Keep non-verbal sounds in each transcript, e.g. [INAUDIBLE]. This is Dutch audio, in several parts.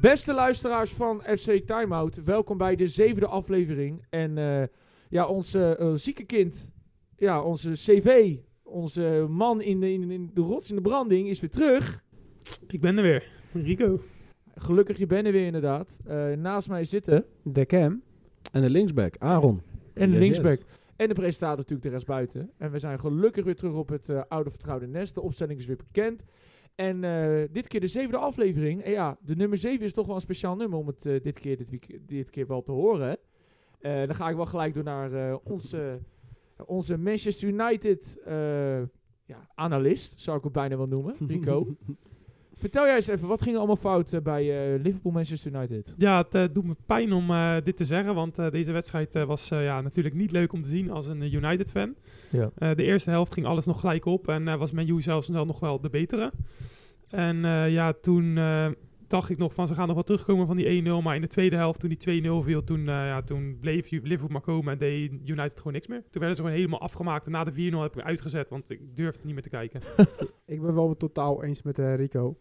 Beste luisteraars van FC Timeout, welkom bij de zevende aflevering. En eh, ja, onze eh, zieke kind, ja, onze cv, onze man in de, in, in de rots in de branding is weer terug. Ik ben er weer. Rico. Gelukkig, je bent er weer inderdaad. Eh, naast mij zitten De cam. En de linksback, Aaron. en de Yes, linksback. yes. En de presentator natuurlijk de rest buiten. En we zijn gelukkig weer terug op het eh, oude vertrouwde nest. De opstelling is weer bekend. En eh, dit keer de zevende aflevering. En ja, de nummer zeven is toch wel een speciaal nummer om het eh, dit, keer, dit, week- dit keer wel te horen. Eh, dan ga ik wel gelijk door naar eh, onze, onze Manchester United eh, ja, analist, zou ik het bijna wel [LAUGHS] noemen, Rico. Vertel jij eens even, wat ging er allemaal fout eh, bij eh, Liverpool Manchester United? Ja, het eh, doet me pijn om eh, dit te zeggen, want eh, deze wedstrijd eh, was eh, ja, natuurlijk niet leuk om te zien als een eh, United-fan. Ja. Eh, de eerste helft ging alles nog gelijk op en eh, was Man U zelfs wel nog wel de betere. En eh, ja, toen eh, dacht ik nog van ze gaan nog wel terugkomen van die 1-0, maar in de tweede helft toen die 2-0 viel, toen, eh, ja, toen bleef U- Liverpool maar komen en deed United gewoon niks meer. Toen werden ze gewoon helemaal afgemaakt en na de 4-0 heb ik hem uitgezet, want ik durfde niet meer te kijken. Ik ben wel totaal eens met eh, Rico.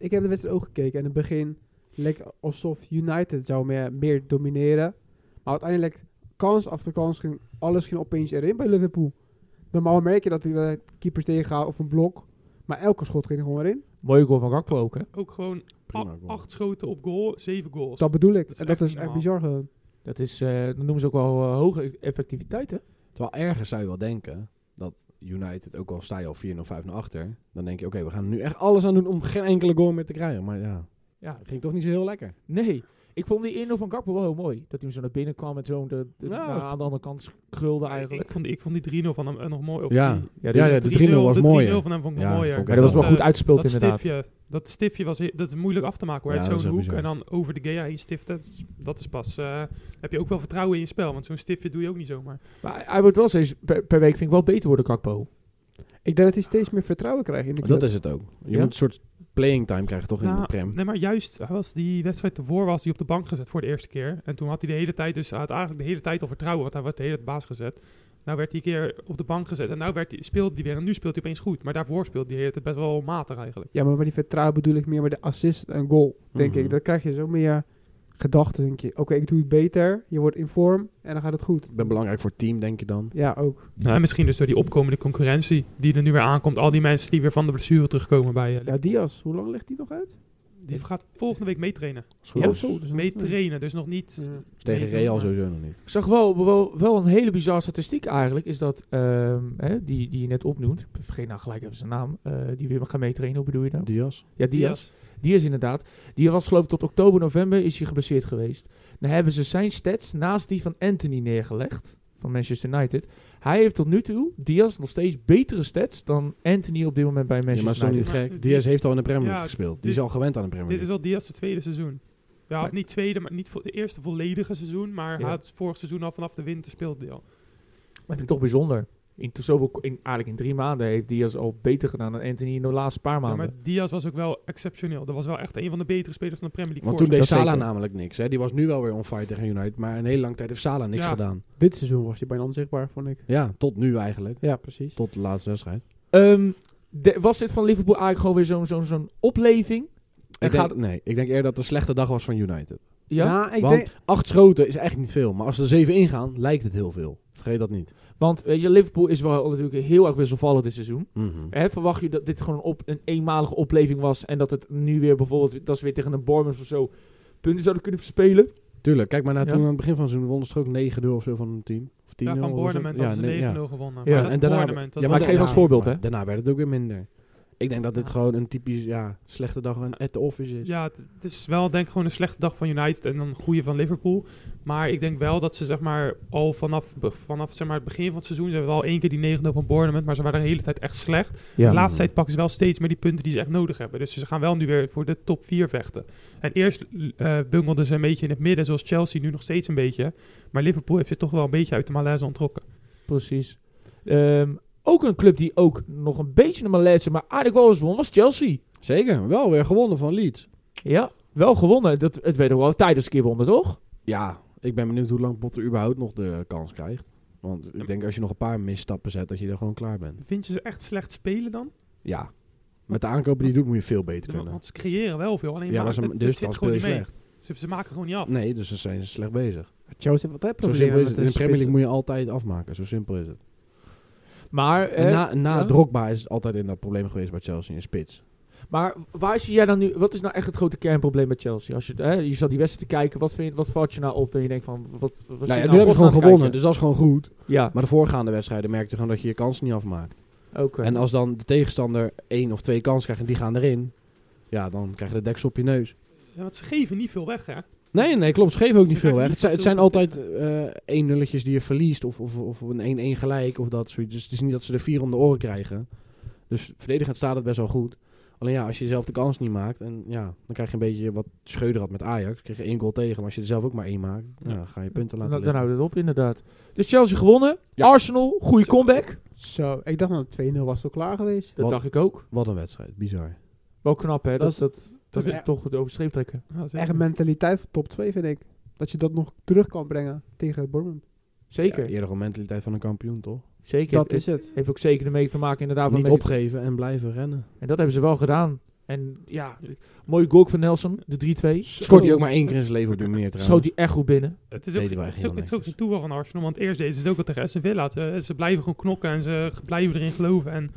Ik heb de wedstrijd ook gekeken en in het begin leek alsof United zou meer, meer domineren. Maar uiteindelijk, kans after kans, ging alles ging opeens erin bij Liverpool. Normaal merk je dat de keepers tegengaan of een blok. Maar elke schot ging er gewoon erin. Mooie goal van Gakpo ook, hè? Ook gewoon Prima a- goal. acht schoten op goal, zeven goals. Dat bedoel ik. Dat is en dat echt is echt niet bizar gewoon. Dat is, eh, dat noemen ze ook wel eh, hoge effectiviteit, hè? Terwijl ergens zou je wel denken dat United, ook al sta je al 4-0, 5-0 achter, dan denk je, oké, we gaan er nu echt alles aan doen om geen enkele goal meer te krijgen. Maar ja, Ja, dat ging toch niet zo heel lekker. nee. Ik vond die 1-0 van Gakpo wel heel mooi. Dat hij hem zo naar binnen kwam en zo de, de- Ja, nou, dat was- aan de andere kant krulde eigenlijk. Ik vond, ik vond die 3-0 van hem eh, nog mooi. Of Ja. die- Ja, Ja, ja, de 3-0 was de mooier. 3-0 van hem vond ik Ja, nog mooier. dat vond ik Maar dat was wel eh, goed uitgespeeld dat inderdaad. Stiftje, dat stiftje was he- dat is moeilijk af te maken hoor. Ja, Uit dat is zo'n ook hoek bizar. en dan over de Gea heen stiften. Dat is, dat is pas. eh, heb je ook wel vertrouwen in je spel, want zo'n stiftje doe je ook niet zomaar. Maar hij wordt wel steeds per, per week vind ik wel beter worden, Gakpo. Ik denk dat hij steeds meer vertrouwen krijgt in de club. Dat is het ook. Je Ja? moet een soort playing time krijgen toch in Nou, de prem. Nee, maar juist hij was die wedstrijd ervoor was hij op de bank gezet voor de eerste keer. En toen had hij de hele tijd, dus hij had eigenlijk de hele tijd al vertrouwen, want hij werd de hele tijd baas gezet. Nou werd hij een keer op de bank gezet en nou werd hij, speelde hij weer. En nu speelt hij opeens goed. Maar daarvoor speelde hij de hele tijd best wel matig eigenlijk. Ja, maar met die vertrouwen bedoel ik meer met de assist en goal, denk Mhm. ik. Dan krijg je zo meer gedachten, denk je. Oké, ik doe het beter. Je wordt in vorm en dan gaat het goed. Ik ben belangrijk voor het team, denk je dan. Ja, ook. Nou, en misschien dus door die opkomende concurrentie die er nu weer aankomt. Al die mensen die weer van de blessure terugkomen bij eh, Ja, Diaz, hoe lang ligt die nog uit? Die gaat volgende week meetrainen. Is goed. Ja, Is zo. Dus nog- Meetrainen, dus nog niet. Ja. Tegen Real sowieso nog niet. Ik zag wel, wel, wel een hele bizarre statistiek eigenlijk. Is dat, ehm, hè, die, die je net opnoemt. Ik Vergeet nou gelijk even zijn naam. eh, die weer gaan meetrainen, hoe bedoel je nou? Diaz. Ja, Diaz. Die is inderdaad. Die was geloof ik tot oktober, november is hij geblesseerd geweest. Dan hebben ze zijn stats naast die van Anthony neergelegd. Van Manchester United. Hij heeft tot nu toe, Diaz, nog steeds betere stats dan Anthony op dit moment bij Ja, maar is Manchester toch niet United. Maar- gek. Diaz heeft al in de Premier League Ja, gespeeld. Die dit- is al gewend aan de Premier Dit is League. al Diaz zijn tweede seizoen. Ja, of Maar- niet tweede, maar niet vo- de eerste volledige seizoen. Maar Ja. hij had vorig seizoen al vanaf de winter speelde hij al. Dat vind ik toch bijzonder. In, te zoveel, in, eigenlijk in drie maanden heeft Diaz al beter gedaan dan Anthony in de laatste paar Ja, maanden. maar Diaz was ook wel exceptioneel. Dat was wel echt een van de betere spelers van de Premier League. Want voor toen deed dat Salah zeker. namelijk niks. Hè. Die was nu wel weer on fire tegen United. Maar een hele lange tijd heeft Salah niks Ja. gedaan. Dit seizoen was hij bijna onzichtbaar, vond ik. Ja, tot nu eigenlijk. Ja, precies. Tot de laatste wedstrijd. Ehm, de- was dit van Liverpool eigenlijk gewoon weer zo'n zo'n zo'n opleving? En Ik denk, gaat- nee, ik denk eerder dat het een slechte dag was van United. Ja? Nou, ik Want denk, acht schoten is echt niet veel. Maar als er zeven ingaan, lijkt het heel veel. Vergeet dat niet. Want weet je, Liverpool is wel natuurlijk heel erg wisselvallig dit seizoen. Mhm. Hè, verwacht je dat dit gewoon op, een eenmalige opleving was en dat het nu weer bijvoorbeeld dat ze weer tegen een Bournemouth of zo punten zouden kunnen verspelen? Tuurlijk, kijk maar naar Ja. toen aan het begin van zo'n wonnen ze toch ook 9-0 of zo van een team. Of 10-0. ja, van of zo. Bournemouth hadden ze nee, 9-0 gewonnen. Ja, Maar dat en is daarna- Bournemouth. dat Ja, maar was- ik geef als ja, voorbeeld, maar hè. Daarna werd het ook weer minder. Ik denk dat dit Ja. gewoon een typisch ja, slechte dag aan at the office is. Ja, het, het is wel denk ik gewoon een slechte dag van United en een goede van Liverpool. Maar ik denk wel dat ze zeg maar al vanaf, be- vanaf zeg maar, het begin van het seizoen... Ze hebben wel één keer die 9-0 van Bournemouth, maar ze waren de hele tijd echt slecht. Ja. de laatste tijd pakken ze wel steeds meer die punten die ze echt nodig hebben. Dus ze gaan wel nu weer voor de top 4 vechten. En eerst eh bungelden ze een beetje in het midden, zoals Chelsea nu nog steeds een beetje. Maar Liverpool heeft zich toch wel een beetje uit de malaise ontrokken. Precies. Ehm, ook een club die ook nog een beetje een malaise, maar aardig wel eens won, was Chelsea. Zeker, wel weer gewonnen van Leeds. Ja, wel gewonnen. Dat, het werd ook wel tijdens een keer wonnen, toch? Ja, ik ben benieuwd hoe lang Potter überhaupt nog de kans krijgt. Want ik denk als je nog een paar misstappen zet, dat je er gewoon klaar bent. Vind je ze echt slecht spelen dan? Ja, Met de aankopen die je doet moet je veel beter kunnen. Want ze creëren wel veel. Alleen Ja, maar maar ze, het- het dus zit dan speel gewoon je niet mee. slecht. Ze, ze maken gewoon niet af. Nee, dus dan zijn ze slecht bezig. Chelsea heeft altijd Zo problemen simpel is met het. de In de Premier League spitsen. moet je altijd afmaken. Zo simpel is het. Maar, En eh, na na ja? Drogba is het altijd in dat probleem geweest bij Chelsea in spits. maar waar zie jij dan nu... Wat is nou echt het grote kernprobleem bij Chelsea? Als je, eh, je zat die wedstrijd te kijken. Wat, vind, wat valt je nou op? Dat je denkt van... Wat, wat zit Nou ja, nou nu hebben ze godsnaam gewoon gewonnen, kijken? dus dat is gewoon goed. Ja, Maar de voorgaande wedstrijden merkte je gewoon dat je je kansen niet afmaakt. oké. En als dan de tegenstander één of twee kansen krijgt en die gaan erin, ja, dan krijg je de deksel op je neus. Ja, want ze geven niet veel weg, hè? Nee, nee, klopt. Ze geven ook niet Ze veel krijgen weg. niet Het zijn, het veel zijn altijd eh één nulletjes die je verliest of, of, of een 1-1 gelijk of dat soort. Dus het is niet dat ze er vier om de oren krijgen. Dus verdedigend staat het best wel goed. Alleen ja, als je zelf de kans niet maakt, en ja, dan krijg je een beetje wat Scheuder had met Ajax. Kreeg je één goal tegen, maar als je er zelf ook maar één maakt, ja, Ja. dan ga je dan, punten laten dan liggen. houdt het op, inderdaad. Dus Chelsea gewonnen. Ja. Arsenal, goede Zo. comeback. Zo, ik dacht dat 2-0 was al klaar geweest. Dat Wat- dacht ik ook. Wat een wedstrijd, bizar. Wel knap, hè? Dat, Dat is- dat, dat, dat is ze echt- toch het overstreep trekken. Ja, zeker. Echt een mentaliteit van top 2 vind ik. Dat je dat nog terug kan brengen tegen Bournemouth. Zeker. Ja, eerder een mentaliteit van een kampioen, toch? Zeker. Dat Het is het. Heeft ook zeker ermee te maken, inderdaad. van niet dat je- opgeven en blijven rennen. En dat hebben ze wel gedaan. En ja, mooie goal van Nelson, de 3-2. Scoort hij ook maar één keer in zijn leven op die manier Schoot trouwens. hij echt goed binnen. Het is ook, Deden wij het is heel ook, het is ook netjes. geen toeval van Arsenal, want eerst deden ze het ook al tegen Aston Villa. Ze, ze blijven gewoon knokken en ze blijven erin geloven. En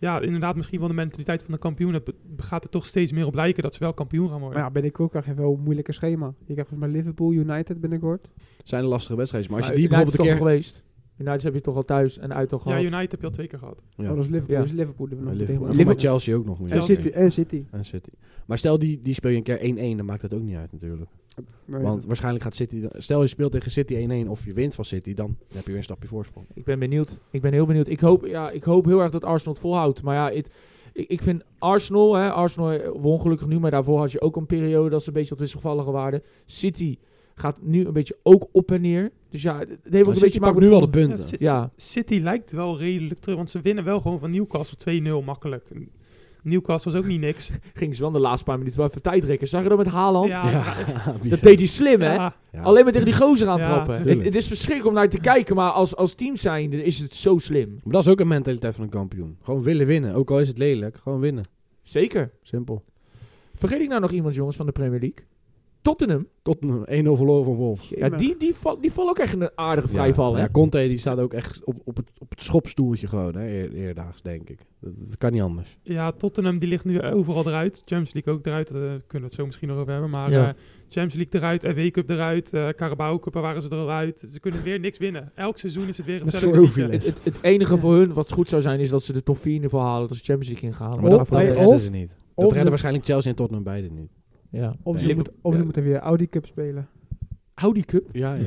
ja, inderdaad, misschien wel de mentaliteit van de kampioen. Het be- gaat er toch steeds meer op lijken dat ze wel kampioen gaan worden. Maar ja, binnenkort krijg je wel een moeilijker schema. Je krijgt volgens mij Liverpool, United binnenkort. zijn er lastige wedstrijden. Maar als je Maar die United bijvoorbeeld een is keer... toch geweest. United heb je toch al thuis en uit al Ja, gehad. United heb je al twee keer gehad. Ja. Oh, dat is Liverpool. Ja. Dus Liverpool. die we nog Bij Liverpool. En tegen- voor mij Chelsea ook nog. Moet je En zeggen. City. En City. En City. Maar stel, die, die speel je een keer 1-1, dan maakt dat ook niet uit natuurlijk. Oh Nee, Want waarschijnlijk gaat City... dan- Stel, je speelt tegen City 1-1 of je wint van City, dan heb je weer een stapje voorsprong. Ik ben benieuwd. Ik ben heel benieuwd. Ik hoop, ja, ik hoop heel erg dat Arsenal het volhoudt. Maar ja, het- ik, ik vind Arsenal... Hè, Arsenal eh, won gelukkig nu, maar daarvoor had je ook een periode... dat ze een beetje wat wisselvalliger waren. City gaat nu een beetje ook op en neer. Dus ja, het het heeft ook Maar een beetje... City te maken pakt nu met al de punten. Ja, City, Ja. City lijkt wel redelijk terug, want ze winnen wel gewoon van Newcastle 2-0 makkelijk. Newcastle is ook niet niks. Gingen ze wel de laatste paar minuten wel even tijdrekken. Zag je dat met Haaland? Ja, [LAUGHS] dat deed hij slim, hè? Ja, Ja. Alleen maar tegen die gozer aan Ja, trappen. Het, tuurlijk. het is verschrikkelijk om naar te kijken, maar als, als team zijnde is het zo slim. Maar dat is ook een mentaliteit van een kampioen. Gewoon willen winnen. Ook al is het lelijk, gewoon winnen. Zeker. Simpel. Vergeet ik nou nog iemand, jongens, van de Premier League? Tottenham. Tot een 1-0 verloren van Wolves. Ja, die, die, val, die vallen ook echt een aardige vrijval, ja, hè? ja, Conte die staat ook echt op, op, het, op het schopstoeltje gewoon, hè, eer- eerdaags, denk ik. Dat, dat kan niet anders. ja, Tottenham die ligt nu overal eruit. Champions League ook eruit, daar kunnen we het zo misschien nog over hebben. Maar Ja. eh, Champions League eruit, FA Cup eruit, eh Carabao Cup, daar waren ze eruit. Ze kunnen weer niks winnen. Elk seizoen is het weer Dat is hetzelfde. voor liedje. Ovilles. Het, het, het enige voor hun wat goed zou zijn, is dat ze de top 4 in ieder geval halen. Dat ze de Champions League ingaan. Maar Of- dat, dat nee, redden oh. of- ze niet. of Dat ze- redden waarschijnlijk Chelsea en Tottenham beide niet. ja. Of ze, Liverpool- moeten, of ze moeten weer Audi Cup spelen. Audi [LAUGHS] Cup. Ja, ja.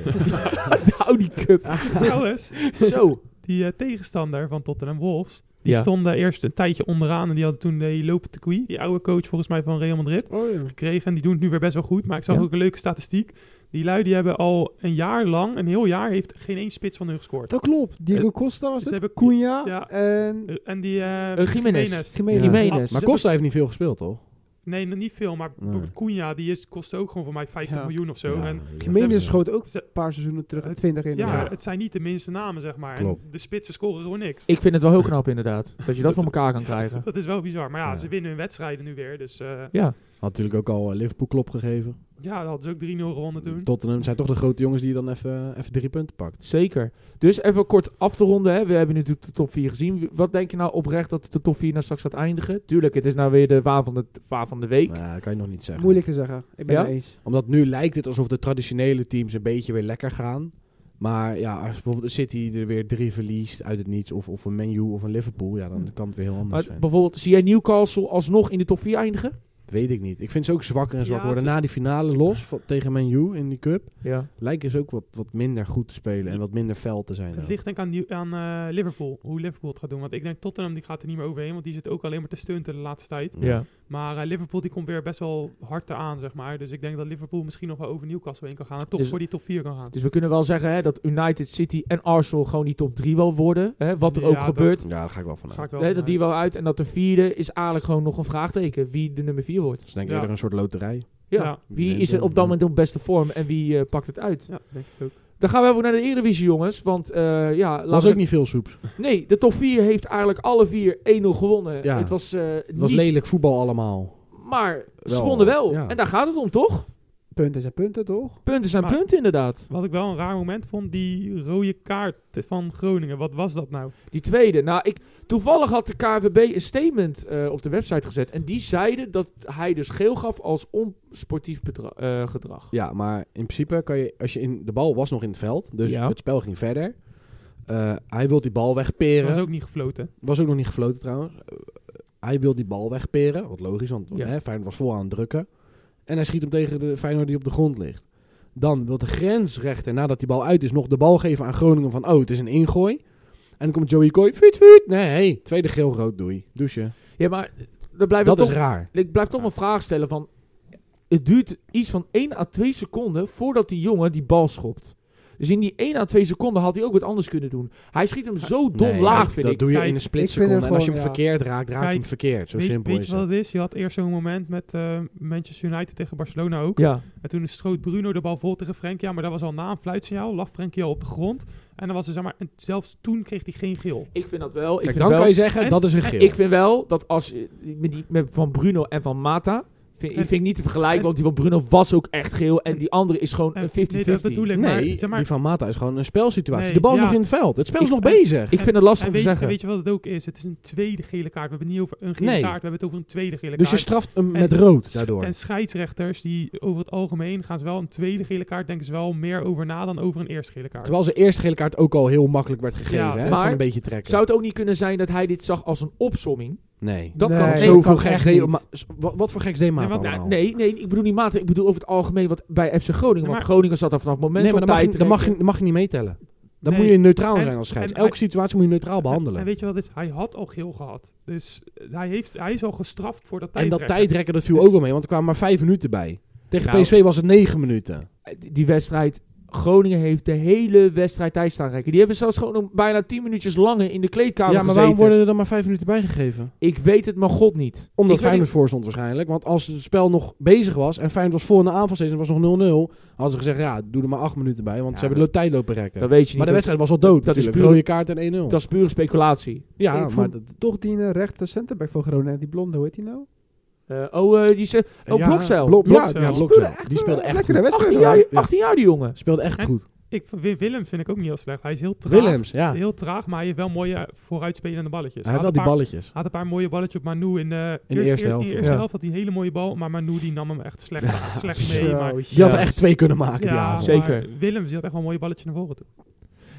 De Audi Cup. [LAUGHS] Trouwens, [LAUGHS] Zo. die eh, tegenstander van Tottenham Wolves, die Ja. stonden eerst een tijdje onderaan en die hadden toen de Lopen Tequi, die oude coach volgens mij van Real Madrid, Oh ja. gekregen. En die doen het nu weer best wel goed, maar ik zag Ja. ook een leuke statistiek. Die lui die hebben al een jaar lang, een heel jaar, heeft geen één spits van hun gescoord. Dat klopt. Diego Costa was Ze het. hebben Cunha Ja. en Eh, En die... eh Eh, Jiménez. Jiménez. Jiménez. [LAUGHS] Maar Costa heeft niet veel gespeeld, toch? Nee, nog niet veel, maar Nee. Cunha, die is, kostte ook gewoon voor mij 50 Ja. miljoen of zo. Ja, En, dat Jiménez is- schoot ook Ze- een paar seizoenen terug. Het- 20 in. ja, Ja. het zijn niet de minste namen, zeg maar. En Klopt. de spitsen scoren gewoon niks. Ik vind het wel heel knap, inderdaad. Dat je dat voor elkaar kan krijgen. Dat is wel bizar. Maar ja, Ja. ze winnen hun wedstrijden nu weer. Dus eh, Ja. Had natuurlijk ook al eh, Liverpool klop gegeven. ja, dat hadden ze ook 3-0 gewonnen toen. Tottenham zijn toch de grote jongens die dan even, eh, even drie punten pakt. Zeker. Dus even kort af te ronden. Hè. We hebben nu natuurlijk de top 4 gezien. Wat denk je nou oprecht dat de top 4 nou straks gaat eindigen? Tuurlijk, het is nou weer de waan van de, waan van de week. Nou, ja, dat kan je nog niet zeggen. Moeilijk te zeggen. Ik ben Ja? het eens. Omdat nu lijkt het alsof de traditionele teams een beetje weer lekker gaan. Maar ja, als bijvoorbeeld City er weer drie verliest uit het niets. Of, of een Man U of een Liverpool. Ja, Hm. dan kan het weer heel Maar anders zijn. bijvoorbeeld, zie jij Newcastle alsnog in de top 4 eindigen? Weet ik niet. Ik vind ze ook zwakker en zwakker Ja, worden. ze- Na die finale los van- tegen Man U in die cup. Ja. Lijken ze ook wat, wat minder goed te spelen. En wat minder fel te zijn. Het ook. ligt denk ik aan, Nieu- aan eh, Liverpool, hoe Liverpool het gaat doen. Want ik denk Tottenham die gaat er niet meer overheen, want die zit ook alleen maar te stunten de laatste tijd. ja. Maar eh, Liverpool die komt weer best wel hard eraan, zeg maar. Dus ik denk dat Liverpool misschien nog wel over Newcastle heen kan gaan. En toch Dus- voor die top 4 kan gaan. Dus we kunnen wel zeggen hè, dat United City en Arsenal gewoon die top 3 wel worden. Hè, wat er ook Ja, dat- gebeurt. Ja, daar ga ik wel van Ga uit. ik wel Hè, dat vanuit. die wel uit. En dat de vierde is eigenlijk gewoon nog een vraagteken. Wie de nummer 4 wordt. Dus ik denk Ja. eerder een soort loterij. Ja. Ja. Wie Wie is er wint op dat hem? moment op beste vorm en wie eh, pakt het uit? Ja, denk ik ook. Dan gaan we even naar de Eredivisie, jongens. Want eh ja, laten was we- ook niet veel soeps. Nee, de top 4 heeft eigenlijk alle vier 1-0 gewonnen. Ja. Het was, eh Het was niet, lelijk voetbal allemaal. Maar Wel, ze wonnen wel. ja. En daar gaat het om, toch? Punten zijn punten, toch? Punten zijn Maar- punten, inderdaad. Wat ik wel een raar moment vond, die rode kaart van Groningen. Wat was dat nou? Die tweede. Nou, ik, toevallig had de KVB een statement eh, op de website gezet. En die zeiden dat hij dus geel gaf als onsportief bedra- eh, gedrag. Ja, maar in principe kan je, als je in, de bal was nog in het veld, dus Ja. het spel ging verder. Eh, hij wil die bal wegperen. was ook niet gefloten. Was ook nog niet gefloten trouwens. Eh, hij wil die bal wegperen. Wat logisch, want Ja. hè, Feyenoord was vol aan het drukken. En hij schiet hem tegen de Feyenoord die op de grond ligt. Dan wil de grensrechter, nadat die bal uit is, nog de bal geven aan Groningen van... Oh, het is een ingooi. En dan komt Joey Kooi. Fuut, fuut. Nee, hey, tweede geel rood, doei. Douche. Ja, maar dat blijft Dat toch, is raar. ik blijf toch Ja. een vraag stellen van... Het duurt iets van 1 à 2 seconden voordat die jongen die bal schopt. Dus in die 1 à 2 seconden had hij ook wat anders kunnen doen. Hij schiet hem zo dom Ah, Nee, laag, dat, vind dat ik. doe je Kijk, in een split ik vind seconde. hem en als je hem gewoon, ja. verkeerd raakt, raak je hem Kijk, verkeerd. Zo weet, simpel weet is je wat het. het is? Je had eerst zo'n moment met eh, Manchester United tegen Barcelona ook. Ja. En toen schoot Bruno de bal vol tegen Frenkie. Ja, maar dat was al na een fluitsignaal. Lag Frenkie al op de grond. En, dan was er, zeg maar, en zelfs toen kreeg hij geen geel. Ik vind dat wel. Ik Kijk, vind dan wel kan je zeggen, En- dat is een geel. Ik vind wel dat als je- met die, met van Bruno en van Mata vind, En- vind ik niet te vergelijken, en- want die van Bruno was ook echt geel en en- die andere is gewoon En- een nee, dat bedoel 50-50. ik. maar, Eh, nee, zeg maar- die van Mata is gewoon een spelsituatie. Nee, de bal is ja. nog in het veld. Het spel is Ik- nog en- bezig. Ik vind het lastig En om te weet, en zeggen. weet je wat het ook is? Het is een tweede gele kaart. We hebben het niet over een gele Nee. kaart. We hebben het over een tweede gele dus je kaart. straft hem En- met rood Sch- daardoor. En scheidsrechters, die over het algemeen gaan ze wel een tweede gele kaart, denken ze wel meer over na dan over een eerste gele kaart. Terwijl zijn eerste gele kaart ook al heel makkelijk werd gegeven. Ja, hè? maar- Van een beetje trekken. Zou het ook niet kunnen zijn dat hij dit zag als een opsomming? Nee. Dat Nee, kan Want ook. zo- zoveel kan geks echt deed... niet. Ma- s- wa- wat voor geks deed Mata Ja, want- allemaal? Nee, nee, ik bedoel niet Mata. Ik bedoel over het algemeen wat bij FC Groningen. Ja, Want maar- Groningen zat er vanaf het moment Nee, maar op dan mag, je, tijd dan, mag je, rekken. dan mag je niet meetellen. Dan Nee. moet je neutraal En- zijn als scheids. en- Elke situatie moet je neutraal behandelen. En En, weet je wat het is? Hij had al geel gehad. Dus eh, hij, heeft, hij is al gestraft voor dat dat tijdrekken. tijdrekken, dat viel Dus- ook wel mee. Want er kwamen maar vijf minuten bij. Tegen Nou. PSV was het negen minuten. Die- Die wedstrijd, Groningen heeft de hele wedstrijd tijd staan rekken. Die hebben zelfs gewoon om bijna 10 minuutjes langer in de kleedkamer Ja, maar gezeten. waarom worden er dan maar vijf minuten bijgegeven? Ik weet het maar god niet. Omdat Ik weet Feyenoord voor stond waarschijnlijk. Want als het spel nog bezig was en Feyenoord was voor in de aanval steeds en het was nog 0-0, hadden ze gezegd, ja, doe er maar acht minuten bij, want Ja, ze hebben de tijd lopen niet- rekken. Dat weet je niet. Maar de Dat- wedstrijd was al dood dat is natuurlijk. puur- Rode kaart en 1-0. Dat is pure speculatie. ja, ik maar vond dat, toch die eh, rechter centerback van Groningen. Die blonde, hoe heet die nou? Eh, oh, eh, die ze Oh, ja, Blokzeil. Blok- Blok- Ja, ja, die Blokzeil. speelde echt Die speelde een echt lekkere goed. 18 wedstrijd. jaar, Ja. 18 jaar die jongen. Speelde echt En- goed. Ik, vind- Wim- Willem vind ik ook niet heel slecht. Hij is heel traag. Willems, ja. Hij Heel traag, maar hij heeft wel mooie eh, vooruitspelende balletjes. heeft wel had die een paar- balletjes. had een paar mooie balletjes op Manu in de, In de eerste eer- helft. In de eerste Ja. helft had hij een hele mooie bal, maar Manu die nam hem echt slecht, slecht mee. Zo, maar, Die had er ja. echt twee kunnen maken die avond. zeker. maar Willems die had echt wel een mooie balletjes naar voren toe.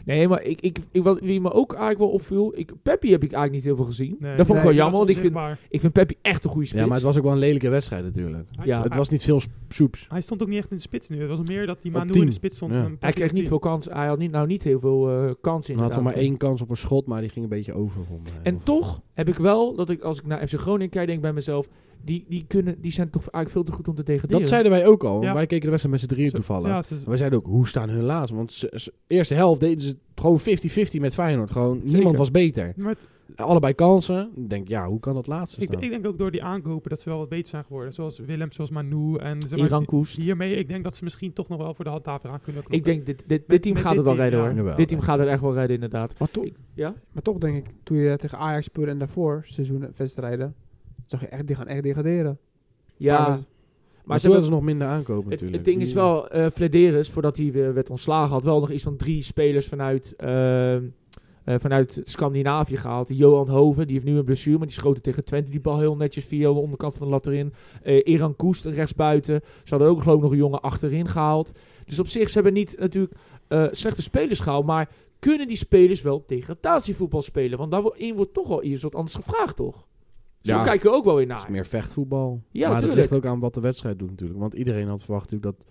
Nee, maar ik, ik, ik, wat, wie me ook eigenlijk wel opviel... Ik, Peppi heb ik eigenlijk niet heel veel gezien. Nee. dat vond ik Nee, wel jammer, Dat want was ik vind, onzichtbaar. ik vind Peppi echt een goede spits. Ja, maar het was ook wel een lelijke wedstrijd natuurlijk. Hij- Ja. hij- Het was niet veel sp- soeps. Hij stond ook niet echt in de spits nu. Het was meer dat die Op Manu in tien. de spits stond. Ja. en hij kreeg niet veel kans. Hij had niet, nou niet heel veel eh kansen Hij had wel inderdaad. maar één kans op een schot, maar die ging een beetje over. Om, eh, En toch heb ik wel, dat ik als ik naar FC Groningen kijk, denk ik bij mezelf... Die, die, kunnen, die zijn toch eigenlijk veel te goed om te degraderen. dat zeiden wij ook al. want Ja. Wij keken de wedstrijd met z'n drieën Zo- toevallig. Ja, ze- Wij zeiden ook, hoe staan hun laatst? Want ze, ze- eerste helft deden ze gewoon 50-50 met Feyenoord. Gewoon, niemand was beter. maar het- Allebei kansen. Ik denk, ja, hoe kan dat laatste ik, staan? ik denk ook door die aankopen dat ze wel wat beter zijn geworden. Zoals Willem, zoals Manu. En zeg maar, Iran die- Koest. hiermee, ik denk dat ze misschien toch nog wel voor de handhaver aan kunnen Ik knokken. denk, dit, dit, dit team met gaat dit het wel team, redden ja. hoor. Jawel, Dit team denk gaat het echt wel redden inderdaad. Maar toch, Ja? maar toch denk ik, toen je tegen Ajax speelde en daarvoor seizoenen wedstrijden, zag je echt, die gaan echt degraderen. Ja, Maar- maar ze ze hebben- wilden ze nog minder aankopen Het, natuurlijk. het ding is wel, eh Flederis, voordat hij weer werd ontslagen, had wel nog iets van drie spelers vanuit, ehm, eh, vanuit Scandinavië gehaald. Johan Hoven, die heeft nu een blessure, maar die schoten tegen Twente die bal heel netjes via de onderkant van de lat erin. Eh Eran Koest, een rechtsbuiten. Ze hadden ook geloof ik nog een jongen achterin gehaald. Dus op zich, ze hebben niet natuurlijk eh, slechte spelers gehaald, maar kunnen die spelers wel degradatievoetbal spelen? Want daarin wordt toch wel iets wat anders gevraagd, toch? Zo Ja. kijken we ook wel weer Het naar. is meer vechtvoetbal. Ja, maar dat tuurlijk. ligt ook aan wat de wedstrijd doet natuurlijk. Want iedereen had verwacht natuurlijk dat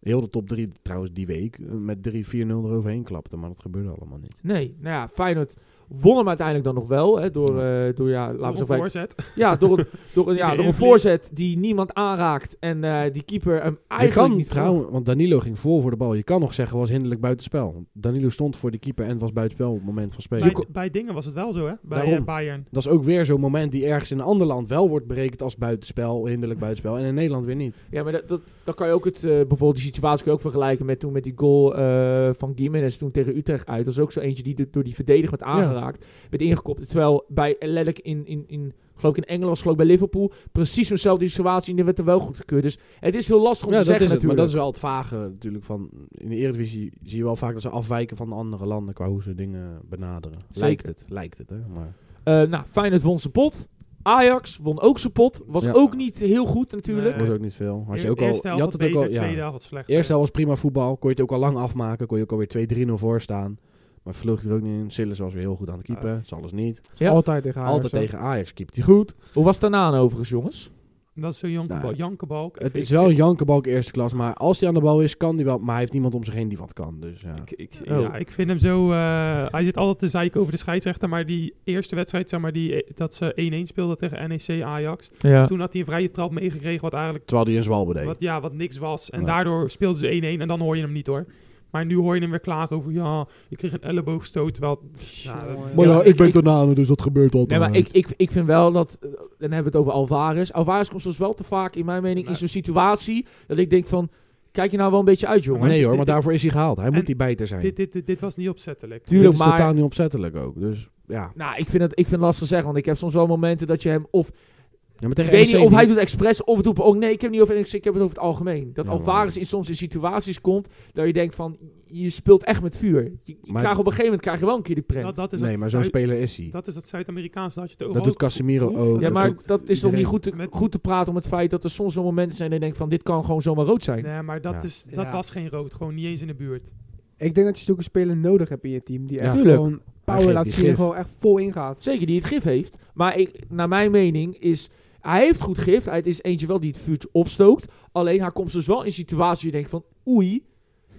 heel de top 3, trouwens die week, eh, met 3-4-0 eroverheen klapte. Maar dat gebeurde allemaal niet. Nee, nou ja, Feyenoord Won hem uiteindelijk dan nog wel. Hè, door, eh, door, ja, laten we Op zeggen, wij- voorzet. ja, door een, door [LAUGHS] een, ja, Die door een invliegt. voorzet die niemand aanraakt. En eh, die keeper hem Je eigenlijk kan niet trouwens, want Danilo ging vol voor de bal. Je kan nog zeggen, was hinderlijk buitenspel. Want Danilo stond voor de keeper en was buitenspel op het moment van spelen. Bij, bij dingen was het wel zo, hè? Bij Daarom. eh, Bayern. Dat is ook weer zo'n moment die ergens in een ander land wel wordt berekend als buitenspel, hinderlijk buitenspel. En in Nederland weer niet. Ja, maar dat, dat, dan kan je ook het, eh, bijvoorbeeld die situatie kun je ook vergelijken met toen met die goal eh, van Gimenez toen tegen Utrecht uit. Dat is ook zo eentje die de- door die verdediger werd aangeraakt, werd ingekopt. Terwijl bij letterlijk in, in, in geloof ik in Engeland, geloof ik bij Liverpool, precies zo'nzelfde situatie en die werd er wel goedgekeurd. Dus het is heel lastig om Ja, te dat zeggen is het. Maar natuurlijk. dat is wel het vage natuurlijk. Van, in de Eredivisie zie je wel vaak dat ze afwijken van andere landen qua hoe ze dingen benaderen. Lijkt het, lijkt het. Hè? Maar, Eh, nou, Feyenoord won zijn pot. Ajax won ook zijn pot. Was Ja. ook niet heel goed natuurlijk. Nee. was ook niet veel. Had je Eer- ook al, eerste helft je wat had het ook beter, al, ja. tweede helft wat slechter. Eerste helft was prima voetbal. Kon je het ook al lang afmaken. Kon je ook alweer 2-3-0 voor staan. Maar vloog er ook niet in. Sillis was weer heel goed aan het keeper. Ah. Zal dus niet. Ja. Altijd tegen Ajax. Altijd hè. tegen Ajax keept hij goed. Hoe was het daarna overigens, jongens? Dat is zo'n jankenbalk. Nou, jankenbalk. Het Ik- is wel een jankenbalk eerste klas. Maar als hij aan de bal is, kan hij wel. Maar hij heeft niemand om zich heen die wat kan. Dus ja. Ik, ik, Oh. Ja, ik vind hem zo... eh, hij zit altijd te zeiken over de scheidsrechter, maar die eerste wedstrijd, zeg maar, die, eh, dat ze 1-1 speelden tegen NEC Ajax. Ja. Toen had hij een vrije trap meegekregen, wat eigenlijk Terwijl hij een zwalbe deed. wat, ja, wat niks was. En Nee. daardoor speelden ze 1-1 en dan hoor je hem niet, hoor. Maar nu hoor je hem weer klagen over, ja, ik kreeg een elleboogstoot, terwijl... Ja, dat- Maar ja, ik ben ik- daarna, dus dat gebeurt altijd. Nee, maar ik, ik, ik vind wel dat... eh, Dan hebben we het over Alvarez. Alvarez komt soms wel te vaak, in mijn mening, in Nee. zo'n situatie... dat ik denk van... Kijk je nou wel een beetje uit, jongen. Nee hoor, maar Dit- daarvoor is hij gehaald. Hij En moet die bijter zijn. dit, Dit dit, dit, dit was niet opzettelijk. Tuurlijk, is maar... totaal niet opzettelijk ook. Dus ja. Nou, ik vind, het, ik vind het lastig zeggen. Want ik heb soms wel momenten dat je hem... Of, ja maar ik tegen weet niet NEC of hij niet. doet expres of het doet... Oh nee, ik heb het niet over NEC, ik heb het over het algemeen. Dat Ja, Alvarez maar- in soms in situaties komt... dat je denkt van... Je speelt echt met vuur. Je, je Maar- krijgt op een gegeven moment krijg je wel een keer die prent. Dat, dat is Nee, dat maar zo'n Zuid- speler is hij. Dat is dat Zuid-Amerikaanse, dat je het Dat, over doet Casemiro ook. Oh, ja, Dat maar doet- dat is toch niet iedereen. goed te, Met- goed te praten om het feit dat er soms wel momenten zijn... dat je denkt van dit kan gewoon zomaar rood zijn. Nee, maar dat, Ja. is, dat Ja. was geen rood. Gewoon niet eens in de buurt. Ik denk dat je zulke speler nodig hebt in je team. Die Ja. echt Tuurlijk. gewoon geeft power laat die zien en gif. gewoon echt vol ingaat. Zeker, die het gif heeft. Maar ik, naar mijn mening is... Hij heeft goed gif. Hij het is eentje wel die het vuurtje opstookt. Alleen hij komt dus wel in situaties waar je denkt van... Oei.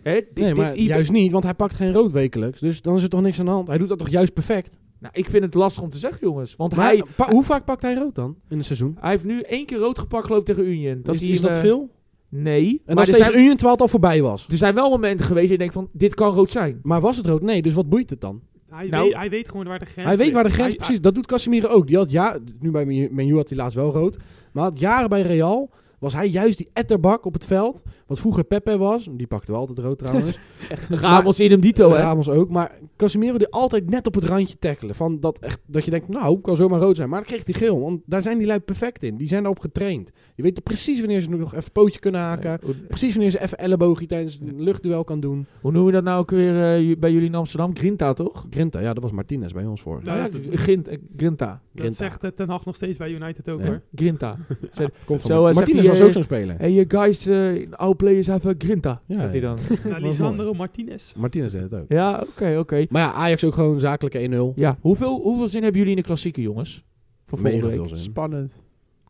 Hè, dit, Nee, dit- maar hier- juist niet, want hij pakt geen rood wekelijks. Dus dan is er toch niks aan de hand. Hij doet dat toch juist perfect. Nou, ik vind het lastig om te zeggen, jongens. Want Maar hij, pa- hoe vaak pakt hij rood dan in het seizoen? hij heeft nu één keer rood gepakt, geloof ik, tegen Union. Dat is, hij is dat eh, veel? Nee. maar En als er tegen zijn, Union 12 al voorbij was. er zijn wel momenten geweest dat je denkt van... Dit kan rood [LAUGHS] zijn. Maar was het rood? Nee, dus wat boeit het dan? Hij, Nou. weet, hij weet gewoon waar de grens Hij weet waar de ligt. grens Hij- precies. Dat doet Casemiro ook. Die had ja, nu bij Menu- Menu had hij laatst wel rood. Maar had jaren bij Real was hij juist die etterbak op het veld. Wat vroeger Pepe was. Die pakte wel altijd rood trouwens. Ramos in hem dito, hè. Ramos ook. Maar Casemiro die altijd net op het randje tackelen. Van dat, echt, dat je denkt, nou, kan zomaar rood zijn. Maar dan kreeg hij geel. Want daar zijn die lui perfect in. Die zijn daarop getraind. Je weet precies wanneer ze nog even pootje kunnen haken. Nee, hoe, Precies wanneer ze even elleboogje tijdens een luchtduel kan doen. hoe noemen we dat nou ook weer eh, ju- bij jullie in Amsterdam? Grinta, toch? Grinta, ja, dat was Martinez bij ons voor. Ja, Nou ja, dat- G- Grint, eh, Grinta. Dat zegt eh, Ten Hag nog steeds bij United ook, Ja. [LAUGHS] hoor. Grinta. Komt Zo, eh, zegt Martinez hij, was eh, ook zo'n speler. Hey, you guys, uh, our players have a Grinta, Ja, zegt hij dan. Nou, mooi. Lisandro Martinez. Martinez deed het ook. Ja, oké, oké. Maar ja, Ajax ook gewoon zakelijke 1-0. Ja, hoeveel, hoeveel zin hebben jullie in de klassieke, jongens? Voor volgende Mega week. veel zin. Spannend.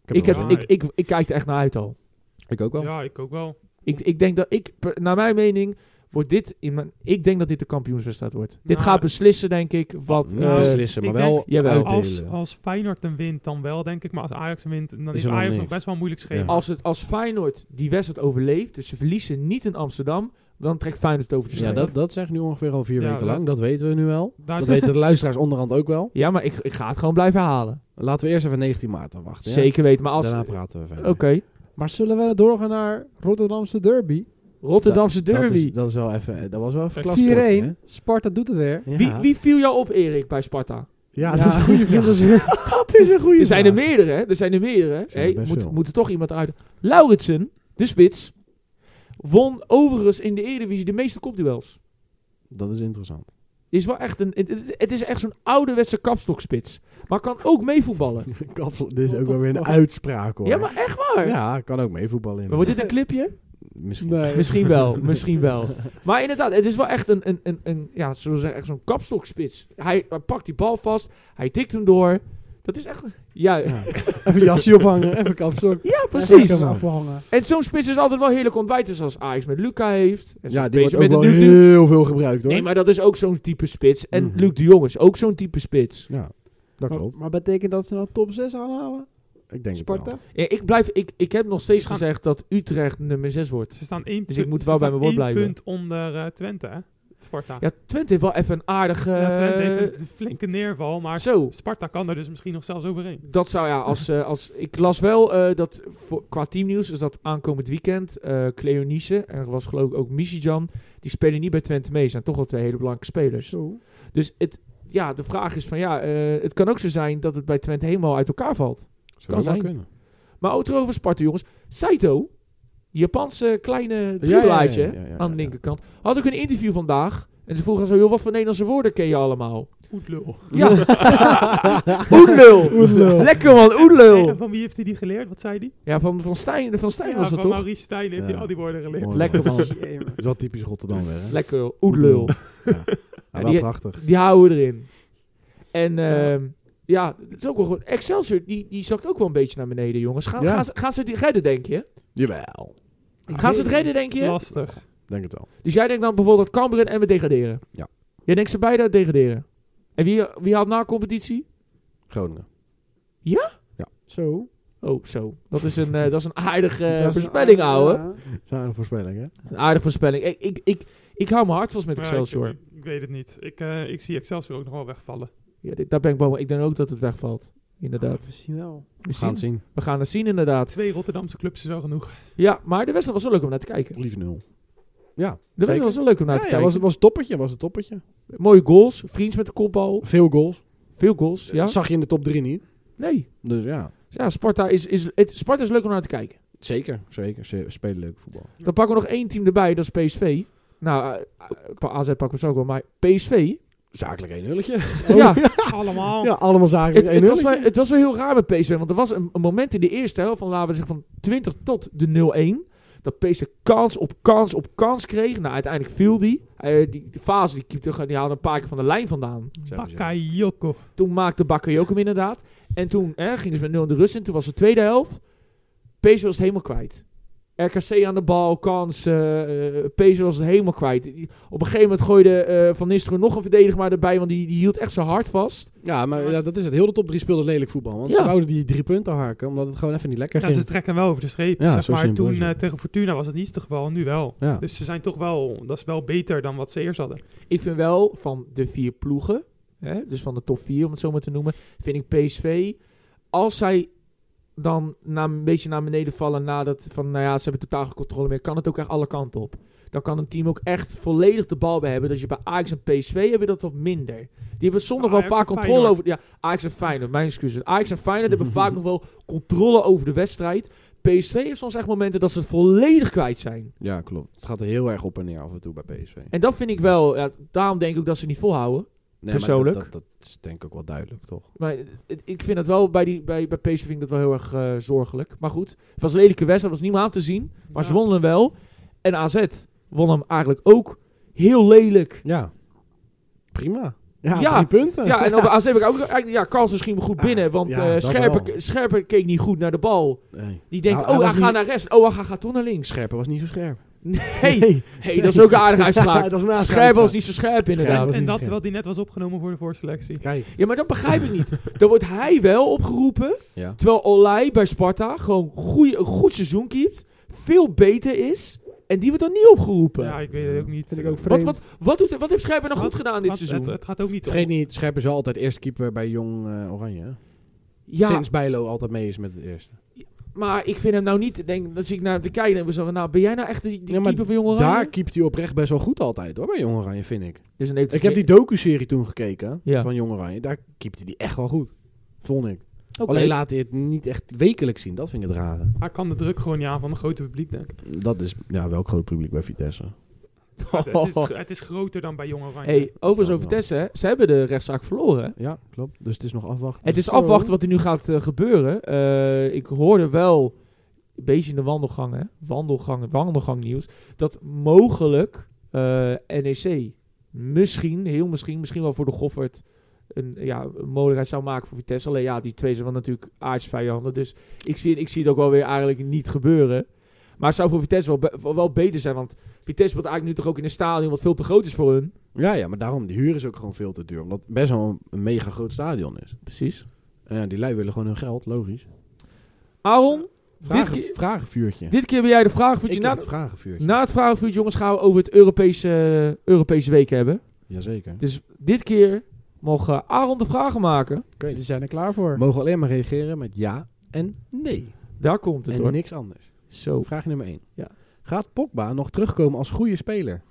Ik, heb, wel Ja, ik, ik, ik kijk er echt naar uit al. zin. Ik ook wel. Ja, ik ook wel. Ik, ik denk dat ik, per- naar mijn mening, wordt dit in mijn, ik denk dat dit de kampioenswedstrijd wordt. dit Nou, gaat beslissen, denk ik, wat... Niet eh, Nou, beslissen, maar ik wel denk- jawel. uitdelen. Als, als Feyenoord hem wint, dan wel, denk ik. Maar als Ajax hem wint, dan Is is, er nog Ajax nog niks. best wel een moeilijk schema. Ja. als, het, als Feyenoord die wedstrijd overleeft, dus ze verliezen niet in Amsterdam, dan trekt Feyenoord het over de ja, streep. dat, dat zeg ik nu ongeveer al vier Ja, weken dat- lang. Dat weten we nu wel. Daar- Dat weten de luisteraars onderhand ook wel. Ja, maar ik, ik ga het gewoon blijven halen. Laten we eerst even 19 maart afwachten. ja? Zeker weten, maar als... Daarna Oké. praten we verder. Maar zullen we doorgaan naar Rotterdamse derby? Rotterdamse Dat derby. is, dat is wel even... Dat was wel even Echt? klasse. 4-1. Sparta doet het weer. Ja. Wie, wie viel jou op, Erik, bij Sparta? Ja, dat is een goede Dat is, vraag. [LAUGHS] dat is een goede Er zijn er vraag. meerdere, hè? Er zijn er meerdere. zijn er Hey, best moet, veel. moet er toch iemand uit. Lauritsen, de spits, won overigens in de Eredivisie de meeste kopduels. Dat is interessant. [LAUGHS] Is wel echt een, het- het, het is echt zo'n ouderwetse kapstokspits. Maar kan ook meevoetballen. Kapsel, dit is ook wel weer een uitspraak hoor. Oh. Ja, maar echt waar. Ja, kan ook mee voetballen in. eh, Maar wordt dit een clipje? Misschien. Nee. Misschien [LAUGHS] wel, misschien wel. Maar inderdaad, het is wel echt een, een, een, een ja, zullen we zeggen, echt zo'n kapstokspits. Hij, hij pakt die bal vast, hij tikt hem door. Dat is echt... Ja, ja, Ja. [LAUGHS] Even jasje ophangen, even kapstok. precies. Ja, Afhangen. En zo'n spits is altijd wel heerlijk ontbijten, zoals Ajax met Luca heeft. En Ja, zoals die wordt PSV ook met wel de Dudu. heel veel gebruikt hoor. Nee, maar dat is ook zo'n type spits. En Mhm. Luc de Jong is ook zo'n type spits. Ja, dat Maar, klopt. maar betekent dat ze nou top 6 aanhalen? Ik denk het wel. Sparta? Ja, ik, blijf, ik, ik heb nog steeds Ze gaan- gezegd dat Utrecht nummer 6 wordt. [LAUGHS] Ze staan één Dus punt- ik moet ze wel bij staan mijn woord één blijven. punt onder eh, Twente, hè? Sparta. Ja, Twente heeft wel even een aardige... Ja, Twente heeft een flinke neerval, maar eh, Zo. Sparta kan er dus misschien nog zelfs overheen. Dat zou ja, als, eh, als ik las wel eh, dat voor, qua teamnieuws is dat aankomend weekend eh Cleonice en er was geloof ik ook Michijan, die spelen niet bij Twente mee, zijn toch al twee hele belangrijke spelers. Zo. Dus het, ja, de vraag is van ja, eh, het kan ook zo zijn dat het bij Twente helemaal uit elkaar valt. Zou Kan wel zijn. kunnen. Maar ook over Sparta jongens, Saito, die Japanse kleine Ja, ja, ja, dribbelaartje ja, ja, ja, ja, aan de ja. linkerkant, had ik een interview vandaag en ze vroegen zo, joh, wat voor Nederlandse woorden ken je allemaal? Goed lul. [LAUGHS] Ja, oedlul. Lekker man, Hey, oedlul. en van wie heeft hij die geleerd? Wat zei hij? Ja, van, van Stijn, van Stijn Ja, was van dat toch? Maurice Stijn heeft Ja. hij al die woorden geleerd. Mooi. Lekker [LAUGHS] man. [LAUGHS] Jemig. Dat is wel typisch Rotterdam weer. Hè? Lekker, oedlul. Ja. Ja, Ja, wel die- prachtig. Die houden we erin. En ehm, ja, het is ook wel goed. Excelsior, die, die zakt ook wel een beetje naar beneden, jongens. Gaan, Ja. gaan, ze, gaan ze het redden, denk je? Jawel. Ik Gaan ze weet het redden, niet. denk je? Lastig. Denk het wel. Dus jij denkt dan bijvoorbeeld dat Cambuur en we degraderen. Ja. Jij denkt ze beide degraderen. En wie, wie haalt na competitie? Groningen. Zo. Oh, zo. Dat is een, eh, dat is een aardige eh, Dat is een voorspelling, aardige- ouwe. ja. Zijn voorspelling, hè? Een aardige voorspelling. Ik, ik, ik, ik hou mijn hart vast met Ja, Excelsior. ik, ik weet het niet. Ik, eh, ik zie Excelsior ook nog wel wegvallen. Ja, dit- daar ben ik bang voor. Ik denk ook dat het wegvalt. Inderdaad. We zien wel. We, We gaan het zien. zien. we gaan het zien, inderdaad. Twee Rotterdamse clubs is wel genoeg. Ja, maar de wedstrijd was wel leuk om naar te kijken. Lief nul. De wedstrijd Zeker. was wel leuk om naar Ja, te ja, kijken. was, was het toppetje, was het toppetje. Mooie goals. Vriends met de kopbal. Veel goals. Veel goals. Ja? Dat zag je in de top 3 niet. Nee. Dus ja. Ja, Sparta is, is, het, Sparta is leuk om naar te kijken. Zeker. Zeker. Ze spelen leuk voetbal. Dan pakken we nog één team erbij. Dat is PSV. Nou, eh, eh, AZ pakken we zo ook wel. Maar PSV. Oh, Zakelijk 1 [LAUGHS] nulletje. [LAUGHS] ja, Allemaal. Ja, allemaal zakelijk het, 1 het, was nulletje. wel, het was wel heel raar met PSV. Want er was een, een moment in de eerste helft. Van, laten we zeggen van 20 tot de 0-1. Dat PSV kans op kans op kans kreeg. Nou, uiteindelijk viel die. Eh, die, die fase die, keeper, die haalde een paar keer van de lijn vandaan. Bakayoko. Toen maakte Bakayoko hem inderdaad. En toen hè, gingen ze met 0 in de rust in. Toen was de tweede helft. PSV was het helemaal kwijt. RKC aan de bal, kans. eh eh, PSV was het helemaal kwijt. Die- Op een gegeven moment gooide eh, Van Nistelrooy nog een verdediger maar erbij. Want die, die hield echt zijn hart vast. Ja, maar ja, dat is het. Heel de top 3 speelde lelijk voetbal. Want Ja. ze wouden die drie punten harken, omdat het gewoon even niet lekker Ja, ze ging. trekken wel over de streep. Ja, zeg zo maar simpel toen is het. eh, tegen Fortuna was het niet het geval, nu wel. Ja. Dus ze zijn toch wel, dat is wel beter dan wat ze eerst hadden. Ik vind wel van de vier ploegen. Hè, dus van de top vier om het zo maar te noemen. Vind ik PSV. Als zij dan na, een beetje naar beneden vallen. Nadat van nou ja, ze hebben totaal geen controle meer. Kan het ook echt alle kanten op. Dan kan een team ook echt volledig de bal bij hebben. Dat je bij Ajax en PSV hebben dat wat minder. Die hebben soms nog wel Ajax en vaak controle Feyenoord. over. Ja, Ajax en Feyenoord, mijn excuses. Ajax en Feyenoord hebben vaak nog wel controle over de wedstrijd. PSV heeft soms echt momenten dat ze het volledig kwijt zijn. Ja, klopt. Het gaat er heel erg op en neer af en toe bij PSV. En dat vind ik wel. Ja, daarom denk ik ook dat ze het niet volhouden. Nee, Persoonlijk? Maar dat, dat, dat is denk ik ook wel duidelijk, toch? Maar het- ik vind dat wel bij, die, bij, bij PSV vind ik dat wel heel erg eh, zorgelijk. Maar goed, het was een lelijke wedstrijd, was niet meer aan te zien. Maar ze Ja. wonnen hem wel. En AZ won hem eigenlijk ook heel lelijk. Ja. Prima. Ja, Ja. drie punten. Ja, en [LAUGHS] over AZ heb ik ook eigenlijk- ja, kans misschien goed binnen. Want Ah, ja, eh, dat Scherper, wel. ke- Scherper keek niet goed naar de bal. Nee. Die denkt, Nou, hij oh, hij was gaat niet- naar rechts. Oh, hij gaat toch naar links. Scherper was niet zo scherp. Hey, hey, dat is ook een [LAUGHS] aardige uitspraak. dat is een aardige Scherper was uitspraak. niet zo scherp Scherper inderdaad. was- En niet dat scherp. terwijl die net was opgenomen voor de voorselectie. Kijk. Ja, maar dat begrijp ik niet. Dan wordt hij wel opgeroepen. Ja. Terwijl Olij bij Sparta gewoon goeie, een goed seizoen keept. Veel beter is. En die wordt dan niet opgeroepen. Ja, ik weet het ook niet. Vind ik ook wat, vreemd. wat, wat, doet, wat heeft Scherpen nou Wat- goed gedaan dit Want seizoen? Het, het gaat ook niet Vergeet om. niet, Scherper is wel altijd eerste keeper bij Jong eh, Oranje. hè? ja, Sinds Bijlo altijd mee is met het eerste. maar ik vind hem nou niet... Denk, dan zie ik naar hem te kijken en we zeggen... Nou, ben jij nou echt die, die Ja, maar keeper van Jong Oranje? Daar keept hij oprecht best wel goed altijd hoor, bij Jong Oranje, vind ik. Dus dan heeft hij Ik heb die meer- docu-serie toen gekeken Ja. van Jong Oranje. Daar keepte hij die echt wel goed, vond ik. Oké. Alleen laat hij het niet echt wekelijks zien, dat vind ik het rare. Hij kan de druk gewoon niet aan van het grote publiek, denk ik. Dat is ja, wel een groot publiek bij Vitesse. Maar Het, is, [LAUGHS] het is groter dan bij Jong Oranje. Hey, overigens wel. over Vitesse, hè. ze hebben de rechtszaak verloren. hè. Ja, klopt. Dus het is nog afwachten. Het is Zo. afwachten wat er nu gaat eh, gebeuren. Eh, ik hoorde wel, een beetje in de wandelgangen, wandelgang, wandelgang nieuws, dat E mogelijk eh, NEC misschien, heel misschien, misschien wel voor de Goffert, een, ja, een mogelijkheid zou maken voor Vitesse. Alleen ja, die twee zijn wel natuurlijk aardsvijanden. Dus ik zie, ik zie het ook wel weer eigenlijk niet gebeuren. Maar het zou voor Vitesse wel, be- wel beter zijn. Want Vitesse speelt eigenlijk nu toch ook in een stadion wat veel te groot is voor hun. Ja, ja, maar daarom, de huur is ook gewoon veel te duur. Omdat het best wel een, een mega groot stadion is. Precies. En ja, die lui willen gewoon hun geld, logisch. Aaron, Vragen, keer- vragenvuurtje. dit keer ben jij de vraag. Voor Ik je heb na, het vragenvuurtje. na het vragenvuur, jongens, gaan we over het Europese, Europese week hebben. Jazeker. Dus dit keer mogen Aaron de vragen maken. Oké. Jullie zijn er klaar voor. Mogen alleen maar reageren met ja en nee. Daar komt het En hoor. niks anders. Zo. Vraag nummer 1. Ja. Gaat Pogba nog terugkomen als goede speler?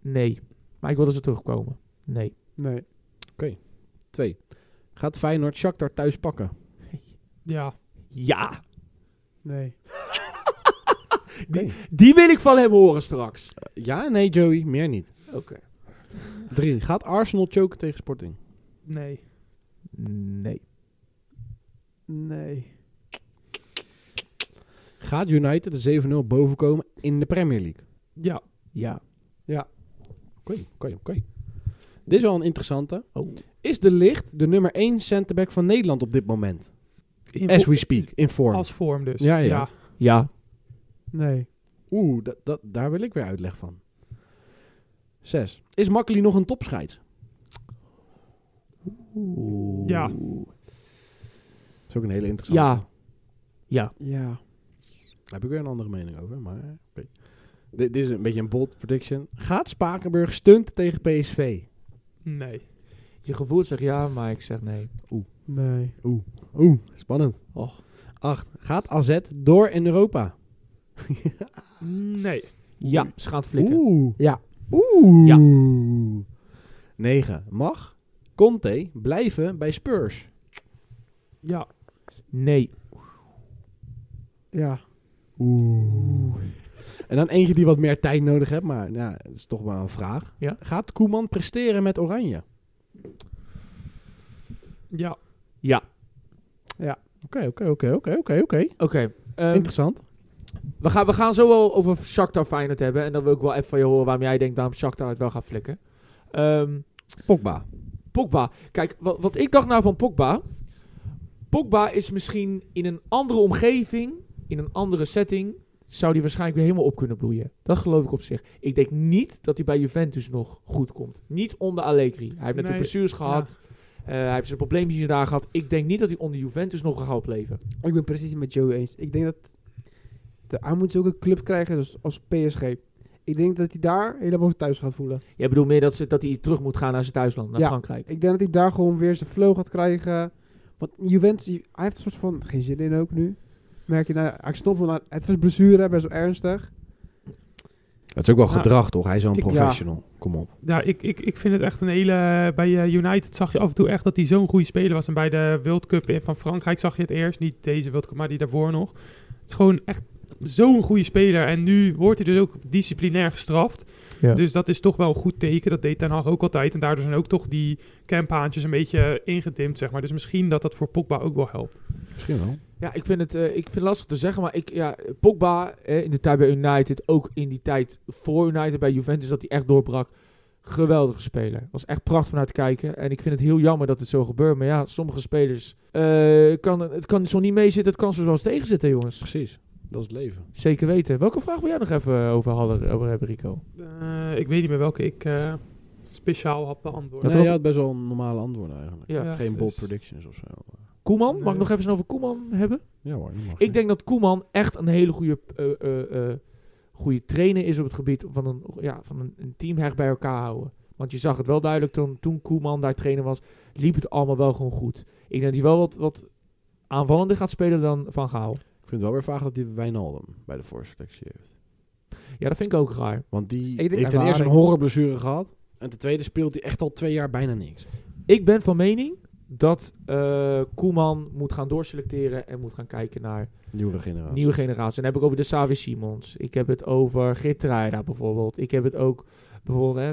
Nee. Maar ik wil dat ze terugkomen. Nee. Nee. 2. Gaat Feyenoord Shakhtar thuis pakken? Ja, Ja. Nee. Die wil ik van hem horen straks. Ja, nee Joey, meer niet. Oké. 3. Gaat Arsenal choken tegen Sporting? nee. Nee. Nee. Gaat United de 7-0 bovenkomen in de Premier League? Ja, Ja. Oké, oké, oké. Dit is wel een interessante. Oh. Is de Licht de nummer 1 centerback van Nederland op dit moment? In As vo- we speak, in vorm. Als vorm dus. Ja, ja. Ja. Nee. Oeh, dat, dat, daar wil ik weer uitleg van. 6. Is Makkeli nog een topscheids? Ja. Dat is ook een hele interessante. Ja. Ja. Ja. Daar heb ik weer een andere mening over, maar... oké. Dit, dit is een beetje een bold prediction. Gaat Spakenburg stunten tegen PSV? Nee. Je gevoel zegt ja, maar ik zeg nee. Nee. Oeh, spannend. Och. 8. Gaat AZ door in Europa? Nee. Ja, ze gaan het flikken. Oeh. Ja. Oeh. 9. Mag Conte blijven bij Spurs? Ja. Nee. Ja. Oeh. En dan eentje die wat meer tijd nodig heeft, maar ja, dat is toch wel een vraag. Ja. Gaat Koeman presteren met Oranje? Oké, Ja. oké, oké, oké, oké, oké. Oké. ehm, Interessant. we, gaan, we gaan zo wel over Shakhtar Feyenoord hebben. En dan wil ik wel even van je horen waarom jij denkt waarom Shakhtar het wel gaat flikken. Ehm Pogba. Pogba. Kijk, wat, wat ik dacht nou van Pogba. Pogba is misschien in een andere omgeving, in een andere setting, zou die waarschijnlijk weer helemaal op kunnen bloeien. Dat geloof ik op zich. Ik denk niet dat hij bij Juventus nog goed komt. Niet onder Allegri. Hij heeft natuurlijk Nee, blessures gehad. Eh, hij heeft zijn probleempjes daar gehad. Ik denk niet dat hij onder Juventus nog gaat opleven. Ik ben precies met Joe eens. Ik denk dat de, hij moet ook een club krijgen dus als PSG. Ik denk dat hij daar helemaal thuis gaat voelen. Jij bedoelt meer dat, ze, dat hij terug moet gaan naar zijn thuisland, naar Ja. Frankrijk. Ik denk dat hij daar gewoon weer zijn flow gaat krijgen. Want Juventus, die- hij heeft een soort van geen zin in ook nu. Merk je, nou, ik snap wel, aan- het was blessure, best wel ernstig. Het is ook wel Ja. gedrag, toch? Hij is wel een Ik- ja. professional. Kom op. Ja, ik, ik, ik vind het echt een hele... Bij eh, United zag je af en toe echt dat hij zo'n goede speler was. En bij de World Cup in- van Frankrijk zag je het eerst. Niet deze World Cup, maar die daarvoor nog. Het is gewoon echt zo'n goede speler. En nu wordt hij dus ook disciplinair gestraft. Ja. Dus dat is toch wel een goed teken. Dat deed Ten Hag ook altijd. En daardoor zijn ook toch die campaantjes een beetje ingedimd, zeg maar. Dus misschien dat dat voor Pogba ook wel helpt. Misschien wel. Ja, ik vind het, eh, ik vind het lastig te zeggen. Maar ik, ja, Pogba eh, in de tijd bij United, ook in die tijd voor United bij Juventus, dat hij echt doorbrak. Geweldige speler. Was echt prachtig om naar te kijken. En ik vind het heel jammer dat het zo gebeurt. Maar ja, sommige spelers. eh, kan, het kan zo niet meezitten. Het kan zo wel eens tegenzitten, jongens. Precies. Dat is het leven. Zeker weten. Welke vraag wil jij nog even eh, over, hadden, over hebben, Rico? Eh, ik weet niet meer welke ik eh, speciaal had beantwoord. Dat nee, was- je had best wel een normale antwoorden eigenlijk. Ja. Ja, Geen dus- bold predictions of zo. Koeman? Mag Nee. ik nog even snel over Koeman hebben? Ja hoor, dat mag. Ik denk dat Koeman echt een hele goede, eh, eh, eh, goede trainer is op het gebied van een, ja, van een, een team hecht bij elkaar houden. Want je zag het wel duidelijk toen, toen Koeman daar trainer was, liep het allemaal wel gewoon goed. Ik denk dat hij wel wat, wat aanvallender gaat spelen dan Van Gaal. Ik vind het wel weer vaag dat die Wijnaldum bij de voorselectie heeft. Ja, dat vind ik ook raar. Want die denk heeft ten eerste een ervaring. horrorblessure gehad. En ten tweede speelt hij echt al twee jaar bijna niks. Ik ben van mening dat eh, Koeman moet gaan doorselecteren en moet gaan kijken naar Nieuwe generatie. Nieuwe generatie. En dan heb ik over de Savi Simons. Ik heb het over Gertruida bijvoorbeeld. Ik heb het ook bijvoorbeeld... Hè,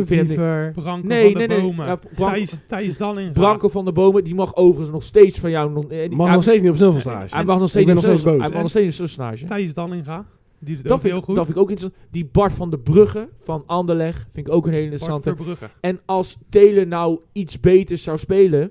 ik vind het- Fever. Branko Nee, van nee, de nee. Bomen. Ja, Branko- Thijs, Thijs Dallinga. Branko van der Bomen, die mag overigens nog steeds van jou... non- eh, die- Mag hij- nog steeds niet op sneuvelstage. Hij mag nog steeds Ik ben niet nog steeds zo- boos. Hij mag nog steeds niet zo snage. Thijs Dallinga. Die doet Dat ook vind, heel ik, goed. dat vind ik ook interessant. Die Bart van de Brugge van Anderleg vind ik ook een hele Bart interessante. Verbrugge. En als Telen nou iets beter zou spelen,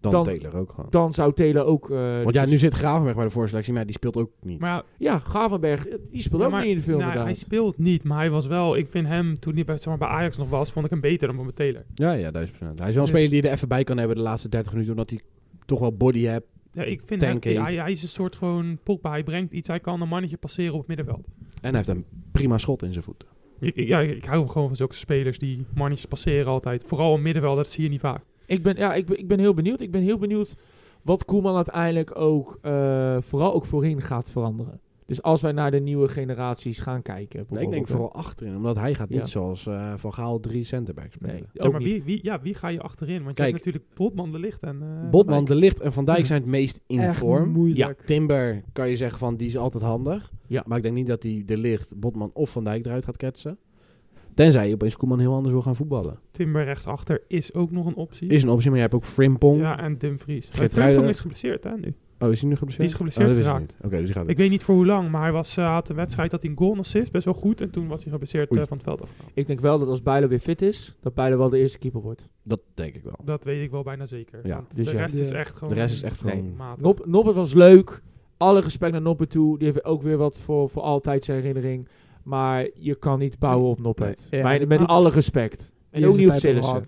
Dan, Dan- Taylor ook gewoon. dan zou Telen ook... eh, Want ja, nu zit Gravenberg bij de voorselectie, maar die speelt ook niet. Maar ja, Ja, Gavenberg, eh, die speelt ja, ook maar- niet in de film nou, hij inderdaad. speelt niet, maar hij was wel... Ik vind hem, toen hij bij, zeg maar, bij Ajax nog was, vond ik hem beter dan Bob Taylor. Ja, ja, 1000%. Hij is wel een Dus- speler die je er even bij kan hebben de laatste 30 minuten, omdat hij toch wel body hebt. Ja, ik vind hem, Tank ja, heeft. hij, hij is een soort gewoon Pogba. Hij brengt iets, hij kan een mannetje passeren op het middenveld. En hij heeft een prima schot in zijn voeten. Ik, ik- ja, ik, ik hou gewoon van zulke spelers die mannetjes passeren altijd. Vooral een middenveld, dat zie je niet vaak. Ik ben, ja, ik, ben, ik ben heel benieuwd. Ik ben heel benieuwd wat Koeman uiteindelijk ook, eh, vooral ook voorin gaat veranderen. Dus als wij naar de nieuwe generaties gaan kijken. ik denk bijvoorbeeld, hè. vooral achterin, omdat hij gaat Ja. niet zoals eh, Van Gaal drie centerback spelen. eh, Nee, Ja, ook maar niet. wie, wie, ja, wie ga je achterin? Want Kijk. je hebt natuurlijk Botman de Licht en... eh, Botman, Van Dijk. De Licht en Van Dijk zijn het meest in Echt vorm. moeilijk. Timber kan je zeggen van die is altijd handig. Ja. Maar ik denk niet dat hij De Licht, Botman of Van Dijk eruit gaat ketsen. Tenzij je opeens Koeman heel anders wil gaan voetballen. Timber rechtsachter is ook nog een optie. Is een optie, maar je hebt ook Frimpong. ja, en Dumfries. Maar Geertruida. Frimpong is geblesseerd hè, nu. Oh, is hij nu geblesseerd? Die is geblesseerd Oh, dat wist ik geraakt. niet. Oké, dus die gaat Ik weet niet voor hoe lang, maar hij was, eh, had een wedstrijd dat hij een goal en assist best wel goed. En toen was hij geblesseerd Oei. eh, van het veld afgehaald. Ik denk wel dat als Bijlo weer fit is, dat Bijlo wel de eerste keeper wordt. Dat denk ik wel. Dat weet ik wel bijna zeker. Ja. Want Dus de ja. rest is Ja. echt De gewoon... rest is echt Nee. gewoon... matig. Nob- Noppert was leuk. Alle respect naar Noppert toe. Die heeft ook weer wat voor, voor altijd zijn herinnering. Maar je kan niet bouwen op Noppert. Nee. Ja. Bij- met Ah. alle respect. En ook niet op Sillissen.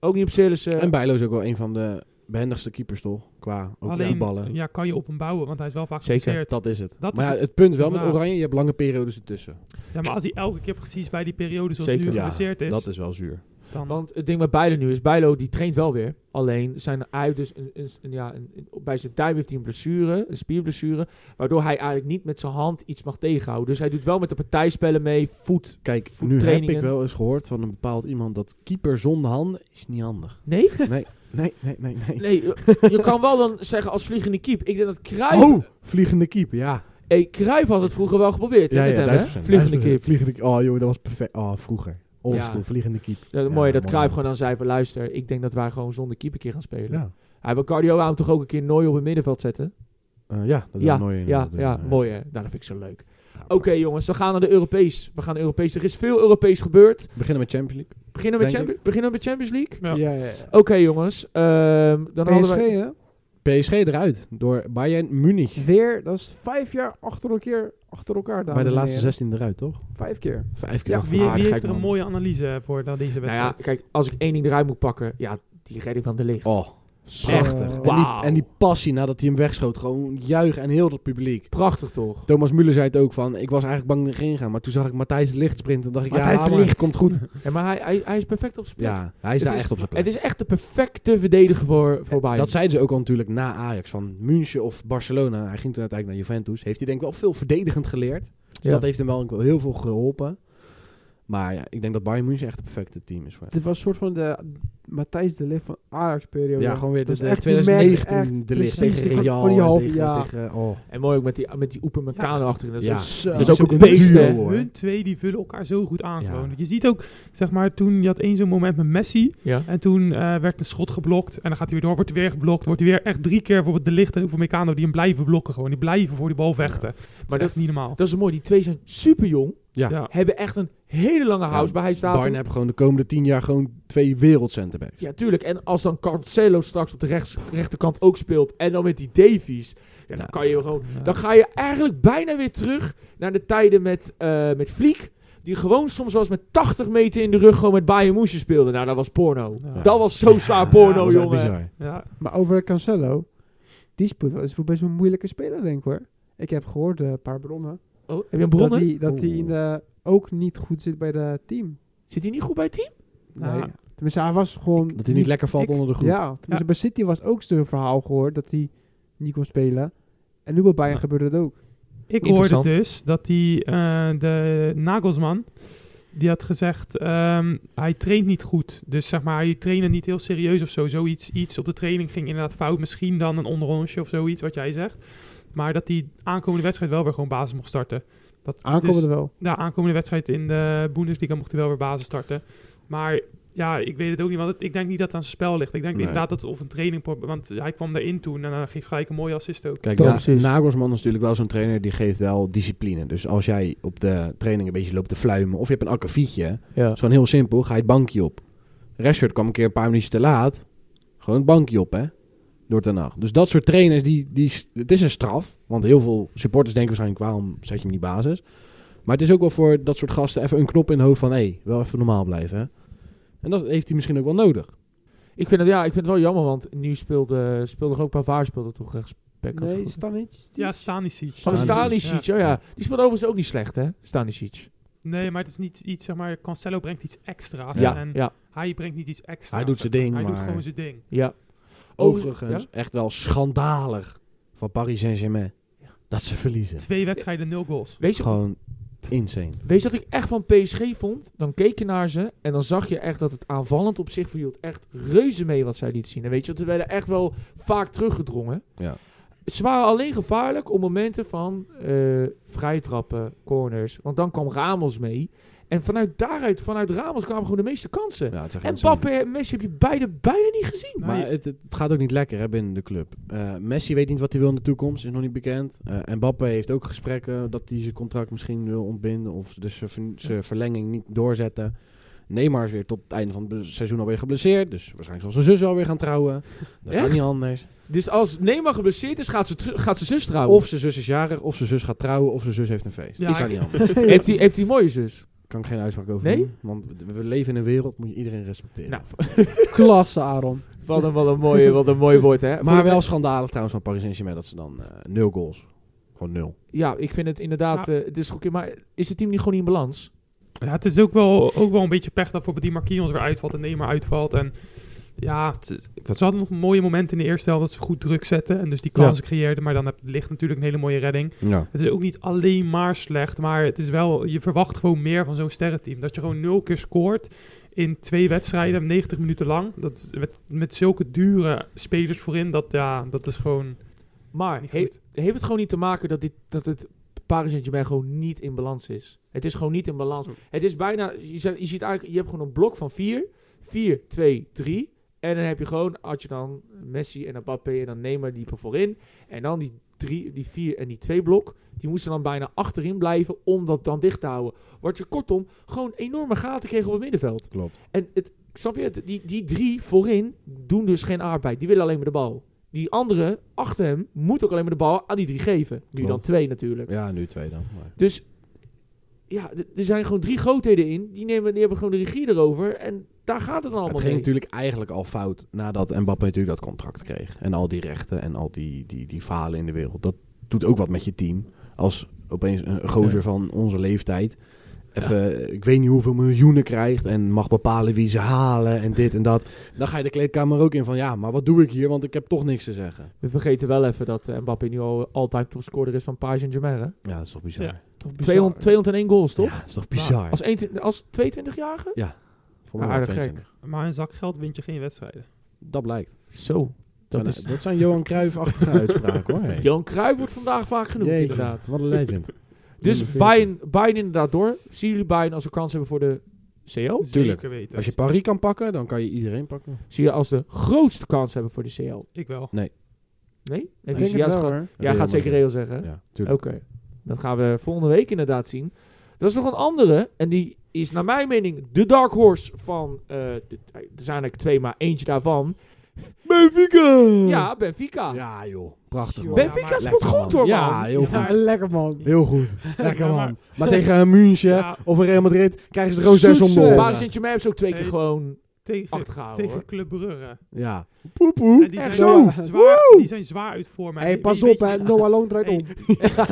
Ook niet op Sillissen. En Bijlo is ook wel een van de behendigste keepers, toch? Qua ook Alleen, voetballen. ja, kan je op hem bouwen, want hij is wel vaak Zeker. geblesseerd. Dat is het. Dat maar is ja, het. het punt wel met Ja. Oranje, je hebt lange periodes ertussen. Ja, maar als hij elke keer precies bij die periode zoals Zeker. nu Ja, geblesseerd is, Dat is wel zuur. dan... Want het ding met Bijlo nu is, Bijlo die traint wel weer. Alleen zijn hij heeft dus een, een, een- ja, een- een- bij zijn duim heeft hij een blessure, een spierblessure. Waardoor hij eigenlijk niet met zijn hand iets mag tegenhouden. Dus hij doet wel met de partijspellen mee, voet. Kijk, nu heb Voettrainingen. ik wel eens gehoord van een bepaald iemand dat keeper zonder handen is niet handig. Nee? Nee, nee, nee, nee. nee. Nee, je- je kan wel dan zeggen als vliegende keep. Ik denk dat Cruijff... Oh, vliegende keeper, ja. Hey, Cruijff had het vroeger wel geprobeerd. hè, Ja, met ja, hem, hè? 1000%, Vliegende 1000%. keep. Vliegende keeper. Oh, joh, dat was perfect. Oh, vroeger. Oldschool, Ja. vliegende keeper. Ja, Ja, mooi dat mooi. Cruijff gewoon aan zei van luister, ik denk dat wij gewoon zonder keeper keer gaan spelen. Ja, Hij wil Cardio aan toch ook een keer Nooi op het middenveld zetten. Eh, ja dat is ja, een mooie. ja, inderdaad. ja, mooi hè. Nou, dat vind ik zo leuk. Ja, Oké jongens, we gaan naar de Europees. We gaan Europees. Er is veel Europees gebeurd. We beginnen met Champions League. Beginnen we met, Denk Champions, beginnen we met Champions League? Ja. Ja, ja, ja. Oké jongens, ehm, Oh, dan hadden PSG, we... hè? PSG eruit door Bayern Munich. Weer, dat is vijf jaar achter elkaar, achter elkaar Bij dames de en laatste heren. 16 eruit, toch? Vijf keer. Vijf keer Ja, achter Wie, elkaar. Ah, wie gek, heeft er een man. mooie analyse voor dan deze Nou ja, wedstrijd? kijk, als ik één ding eruit moet pakken, ja, die redding van de licht. Oh, Zo. prachtig. En, Wauw. die, en die passie nadat hij hem wegschoot. Gewoon juichen en heel dat publiek. Prachtig toch? Thomas Müller zei het ook van, ik was eigenlijk bang dat ik erin gaan. Maar toen zag ik Matthijs de Licht sprinten. dacht ik, Matthijs ja, de maar, Ligt. komt [LAUGHS] goed. Ja, maar hij, hij, hij is perfect op zijn plek. Ja, hij is Het daar is- echt op zijn plek. Het is echt de perfecte verdediger voor, voor Bayern. Dat zeiden ze ook al natuurlijk na Ajax. Van München of Barcelona. Hij ging toen uiteindelijk naar Juventus. Heeft hij denk ik wel veel verdedigend geleerd. Dus Ja. dat heeft hem wel heel veel geholpen. Maar ja, ik denk dat Bayern München echt het perfecte team is voor hem. Dit was een soort van de Matthijs de Ligt van Ajax-periode. Ja, gewoon weer de, Dat is de echt die 2019 man, echt de licht precies, tegen die gaat Real. voor die en halve tegen, jaar. tegen, oh. En mooi ook met die, met die Oepen Meccano achterin. Dat is Ja. ook Zo. Dat is ook een duo, beest, hè? hoor. Eh, Hun twee die vullen elkaar zo goed aan. Ja. gewoon. Je ziet ook, zeg maar, toen je had één zo'n moment met Messi. Ja. En toen eh, werd een schot geblokt. En dan gaat hij weer door, wordt hij weer geblokt. Wordt hij weer echt drie keer bijvoorbeeld de licht en Upamecano die hem blijven blokken. Gewoon. Die blijven voor die bal vechten. Dat dat- is echt niet normaal. Dat is mooi. Die twee zijn super jong. Ja. Ja. Hebben echt een hele lange house bij hij staat. Bayern heeft gewoon de komende tien jaar gewoon twee wereldcenterbacks. Ja, tuurlijk. En als dan Cancelo straks op de rechts, rechterkant ook speelt. En dan met die Davies. Ja, dan Ja. kan je gewoon. Ja. Dan ga je eigenlijk bijna weer terug naar de tijden met, eh met Vliek. Die gewoon soms was met 80 meter in de rug gewoon met Bayern Moesje speelde. Nou, dat was porno. Ja. Dat was zo zwaar Ah, Ja, porno, dat is jongen. Ja. Dus Maar over Cancelo, die speelt, wel- is wel best wel een moeilijke speler, denk ik hoor. Ik heb gehoord, eh, een paar bronnen, Oh, heb je een bronnen? dat hij dat die Oeh. in de- ook niet goed zit bij de team. Zit hij niet goed bij het team? Nee. Ja. Tenminste, hij was gewoon... Dat hij niet lekker valt ik- onder de groep. Ja, tenminste, bij City was ook zo'n verhaal gehoord dat hij niet kon spelen. En nu bij Bayern Ja. gebeurde het ook. Ik hoorde Interessant. dus dat die, eh, de Nagelsman, die had gezegd, ehm, hij traint niet goed. Dus zeg maar, hij trainde niet heel serieus of zo. Zoiets iets op de training ging inderdaad fout. Misschien dan een onderrondje of zoiets, wat jij zegt. Maar dat die aankomende wedstrijd wel weer gewoon basis mocht starten. Dat, Aankomende dus, wel. ja, aankomende wedstrijd in de Bundesliga mocht hij wel weer basis starten. Maar Ja, ik weet het ook niet, want het- ik denk niet dat het aan zijn spel ligt. Ik denk Nee. inderdaad dat het of een training... Want hij kwam daarin toen en hij geeft gelijk een mooie assist ook. Kijk, Ja, Na- precies. Nagelsman is natuurlijk wel zo'n trainer die geeft wel discipline. Dus als jij op de training een beetje loopt te fluimen of je hebt een akkefietje, dat Ja. is gewoon heel simpel, ga je het bankje op. Rashford kwam een keer een paar minuutjes te laat, gewoon het bankje op, hè? Door ten nacht. Dus dat soort trainers, die, die, s- het is een straf. Want heel veel supporters denken waarschijnlijk, waarom zet je hem niet basis? Maar het is ook wel voor dat soort gasten even een knop in het hoofd van, hé, wel even normaal blijven, hè? En dat heeft hij misschien ook wel nodig. Ik, vind het, ja, ik vind het wel jammer, want nu speelde, speelde er ook Pavard speelde toch rechtsback. als Nee, het goed- Stanic. Ja, Stanisic. Van Stanisic. Stanisic, oh ja. Die speelde overigens ook niet slecht, hè? Stanisic. Nee, maar het is niet iets, zeg maar... Cancelo brengt iets extra's. Ja, en ja, hij brengt niet iets extra's. Hij doet zeg zijn maar. ding, Hij doet maar- gewoon zijn ding. ja. Overigens, ja? echt wel schandalig van Paris Saint-Germain dat ze verliezen. Twee wedstrijden, nul goals. Weet is je, gewoon insane. Weet je wat ik echt van PSG vond? Dan keek je naar ze en dan zag je echt dat het aanvallend op zich verhield. Echt reuze mee wat zij liet zien. En weet je, want ze werden echt wel vaak teruggedrongen. Ja. Ze waren alleen gevaarlijk op momenten van eh vrijtrappen, corners. Want dan kwam Ramos mee. En vanuit daaruit, vanuit Ramos kwamen gewoon de meeste kansen. Ja, het is echt en insane. Mbappé en Messi heb je beide, beide niet gezien. Nou, Maar je- het, het gaat ook niet lekker hè, binnen de club. Eh, Messi weet niet wat hij wil in de toekomst, is nog niet bekend. En Mbappé heeft ook gesprekken dat hij zijn contract misschien wil ontbinden of dus zijn ver- zijn verlenging niet doorzetten. Neymar is weer tot het einde van het be- seizoen alweer geblesseerd, dus waarschijnlijk zal zijn zus alweer gaan trouwen. Dat kan Echt? niet anders. Dus als Neymar geblesseerd is, gaat ze, teru- gaat ze zus trouwen. Of zijn zus is jarig, of zijn zus gaat trouwen, of zijn zus heeft een feest. Ja, dat kan ik- niet [LAUGHS] anders. heeft hij heeft hij een mooie zus. kan ik geen uitspraak over Nee? doen, want we we leven in een wereld, moet je iedereen respecteren. Nou, Klasse, Aaron. wat een, wat een, mooie, wat een mooi woord, hè? Voor Maar de- wel schandalig trouwens van Paris Saint-Germain dat ze dan eh, nul goals. Gewoon nul. Ja, ik vind het inderdaad. eh, het is goed, maar is het team niet gewoon niet in balans? Ja, het is ook wel, ook wel een beetje pech dat bijvoorbeeld die Marquinhos weer uitvalt en Neymar uitvalt. En ja, het, is- ze hadden nog mooie momenten in de eerste helft dat ze goed druk zetten en dus die kansen creëerden. Maar dan heb, ligt natuurlijk een hele mooie redding. Ja. Het is ook niet alleen maar slecht, maar het is wel, je verwacht gewoon meer van zo'n sterrenteam. Dat je gewoon nul keer scoort in twee wedstrijden, 90 minuten lang. Dat, met, met zulke dure spelers voorin, dat, ja, dat is gewoon Maar niet he- goed. heeft het gewoon niet te maken dat, dit, dat het Paris Saint-Germain gewoon niet in balans is? Het is gewoon niet in balans. Het is bijna. Je, zegt- je ziet eigenlijk. Je hebt gewoon een blok van 4, 4, 2, 3. En dan heb je gewoon. Had je dan Messi en Mbappé en dan Neymar dieper voorin. En dan die 3, die 4 en die 2 blok. Die moesten dan bijna achterin blijven om dat dan dicht te houden. Wat je kortom gewoon enorme gaten kreeg op het middenveld. Klopt. En het, snap je, het? die, die drie voorin doen dus geen arbeid. Die willen alleen maar de bal. Die andere achter hem moet ook alleen maar de bal aan die drie geven. Nu Klopt. dan twee natuurlijk. Ja, nu twee dan. Maar. Dus ja, d- er zijn gewoon drie grootheden in. Die, nemen, die hebben gewoon de regie erover. En daar gaat het dan allemaal Het ging mee. natuurlijk eigenlijk al fout nadat Mbappé natuurlijk dat contract kreeg. En al die rechten en al die, die, die falen in de wereld. Dat doet ook wat met je team. Als opeens een gozer van onze leeftijd even, eh, ik weet niet hoeveel miljoenen krijgt en mag bepalen wie ze halen en dit en dat. Dan ga je de kleedkamer ook in van ja, maar wat doe ik hier? Want ik heb toch niks te zeggen. We vergeten wel even dat eh, Mbappé nu al all-time topscorer is van Paris Saint-Germain. hè? Ja, dat is toch bizar. Ja. Toch bizar. 200 201 goals, toch? Ja, dat is toch bizar. Als, 21 als 22-jarige? Voor mij Ah, wel dat gek. 22. Maar een zak geld wint je geen wedstrijden. Dat blijkt. Zo. Dat zijn, is, dat zijn Johan Cruijff-achtige uitspraken hoor. Hey. Johan Cruijff wordt vandaag vaak genoemd, Jeetje, inderdaad. Wat een legend. Dus Nummer Bayern, Bayern inderdaad door. Zien jullie Bayern als een kans hebben voor de CL? Tuurlijk. Zeker weten. Als je Paris kan pakken, dan kan je iedereen pakken. Zie je als de grootste kans hebben voor de CL? Ik wel. Nee? Ik Heb je denk het juist wel, ge- hoor. ja, gaat zeker Real zeggen. hè? Ja, Oké. tuurlijk. Dat gaan we volgende week inderdaad zien. Dat is nog een andere. En die is naar mijn mening de dark horse van... eh, de- er zijn eigenlijk twee, maar eentje daarvan. Benfica! Ja, Benfica. Ja, joh. Prachtig, man. Ben- Ah. Benfica maar- speelt Lekker, goed hoor, man. Ja, heel Ja, goed. maar- Lekker man. Heel goed. Lekker, Ja, maar- man. Maar tegen een München Ja. of een Real Madrid krijgen ze er gewoon zes Succes. om Paris Saint-Germain heeft ze ook twee keer Nee. gewoon Tegen, achtergehouden tegen hoor. Club Brugge. Ja. Poep, poep. En die zijn, Echt zo. Zwaar, die zijn zwaar uit vorm. Hey, pas op hè. Noah Long draait Hey, om. [LAUGHS]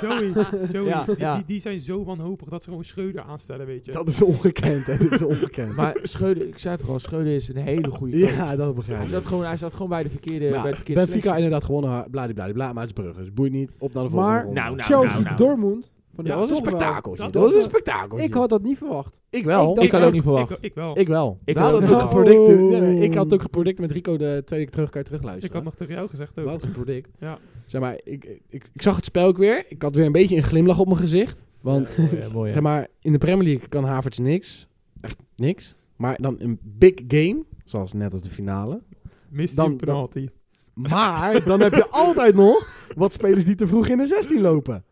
Joey, Joey Ja, die, ja. Die, die zijn zo wanhopig dat ze gewoon Schreuder aanstellen, weet je. Dat is ongekend, hè. Dit is ongekend. Maar Schreuder, ik zei het al, Schreuder is een hele goede coach. ja, dat begrijp Hij ik. zat gewoon, hij zat gewoon bij de verkeerde, bij de Ja, verkeerde Benfica selectie. inderdaad gewonnen. Bladibladibla. Maar het is Brugge. Dus boeit niet. Op naar de volgende Maar- ronde. Nou, nou, Chelsea nou, nou. Dortmund. Ja, Van dat was een toch wel. spektakeltje. Dat Dat was een was- spektakeltje. Ik had dat niet verwacht. Ik wel. dacht- Ik had ook niet verwacht. Ik, ik wel. Ik, Ik wel. Ik Ik, wel. had het ook Oh. gepredict. Nee, nee, ik had het ook gepredict met Rico de tweede keer terug kan je terugluisteren. had nog tegen jou gezegd We ook. hadden gepredict. Ja. Zeg maar, ik, ik, ik zag het spel ook weer. Ik had weer een beetje een glimlach op mijn gezicht. Want Ja, mooi, hè, mooi, hè. zeg maar, in de Premier League kan Havertz niks. Echt niks. Maar dan een big game, zoals net als de finale. Mist Dan- die penalty. Maar dan heb je altijd nog wat spelers die te vroeg in de 16 lopen.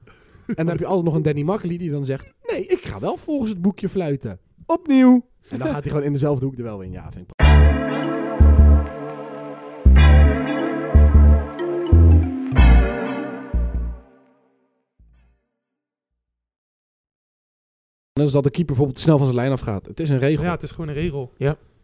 En dan heb je altijd nog een Danny Makkely die dan zegt... Nee, ik ga wel volgens het boekje fluiten. Opnieuw. En dan gaat hij gewoon in dezelfde hoek er wel in. Ja, vind ik prachtig. Dat is dat de keeper bijvoorbeeld te snel van zijn lijn afgaat. Het is een regel. Ja, het is gewoon een regel.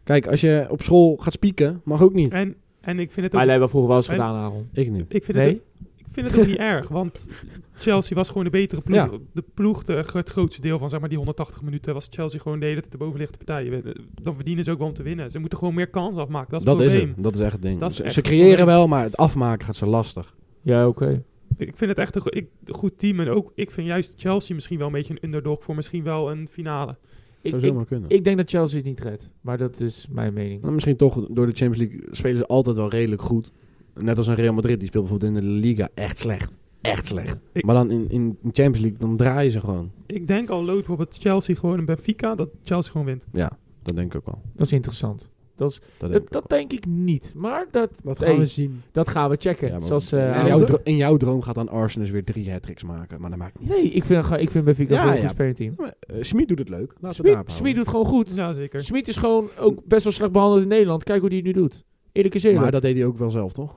Kijk, als je op school gaat spieken, mag ook niet. En, en ik vind het ook... Maar jij wel vroeger wel eens En- gedaan, Aaron. Ik niet. Ik vind, Nee? het ook, ik vind het ook niet erg, want Chelsea was gewoon de betere ploeg. De ploeg, de, het grootste deel van zeg maar, die 180 minuten, was Chelsea gewoon de hele tijd de bovenliggende partij. Dan verdienen ze ook wel om te winnen. Ze moeten gewoon meer kansen afmaken, dat is Dat het is probleem. het. Dat is echt het ding. Dat is Ze- echt ze het creëren probleem. wel, maar het afmaken gaat zo lastig. Ja, oké. Ik vind het echt een, go- ik, een goed team en ook, ik vind juist Chelsea misschien wel een beetje een underdog voor misschien wel een finale. Ik, zou ik, zomaar kunnen. ik denk dat Chelsea het niet redt. Maar dat is mijn mening. Maar misschien toch, door de Champions League spelen ze altijd wel redelijk goed. Net als een Real Madrid, die speelt bijvoorbeeld in de Liga echt slecht. Echt slecht. Ik- maar dan in, in de Champions League, dan draaien ze gewoon. Ik denk al lood op het Chelsea gewoon een Benfica, dat Chelsea gewoon wint. Ja, dat denk ik ook wel. Dat is interessant. Dat, is, Dat denk dat, ik dat ook denk ik niet. Maar dat, Dat hey, gaan we zien. dat gaan we checken. wel. Ja, maar- Zoals, eh, in, Aaron- jouw dro- in jouw droom gaat dan Arsenal dus weer drie hat maken, maar dat maakt niet. nee, ik vind, ga- ik vind Benfica Ja, gewoon een ja. goed spelerteam. uit. Eh, Schmid doet het leuk. Laten we het daarop Smit, houden. Smit doet gewoon goed. Ja, zeker. Smit is gewoon ook best wel slecht behandeld in Nederland. Kijk hoe die het nu doet. Eerlijk is Maar eerlijk. dat deed hij ook wel zelf, toch?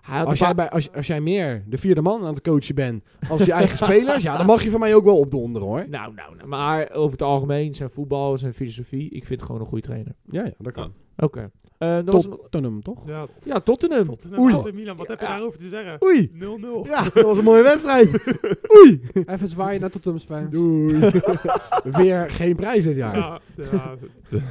Hij had Als een jij, paar- bij, als, als jij meer de vierde man aan het coachen bent als je [LAUGHS] eigen spelers, ja, dan mag je van mij ook wel opdonderen, hoor. nou, nou, nou, maar over het algemeen, zijn voetbal, zijn filosofie. Ik vind het gewoon een goede trainer. Ja, ja dat kan. Oké. Eh, dan was er nog- Tottenham, toch? Ja, ja, Tottenham. Tottenham, Oei. AC Milan, wat heb je Ja. daarover te zeggen? Oei! 0-0. Ja, dat was een mooie wedstrijd. Oei! Even zwaaien naar Tottenham's fans. [LAUGHS] Doei. Weer geen prijs dit jaar. Ja, ja,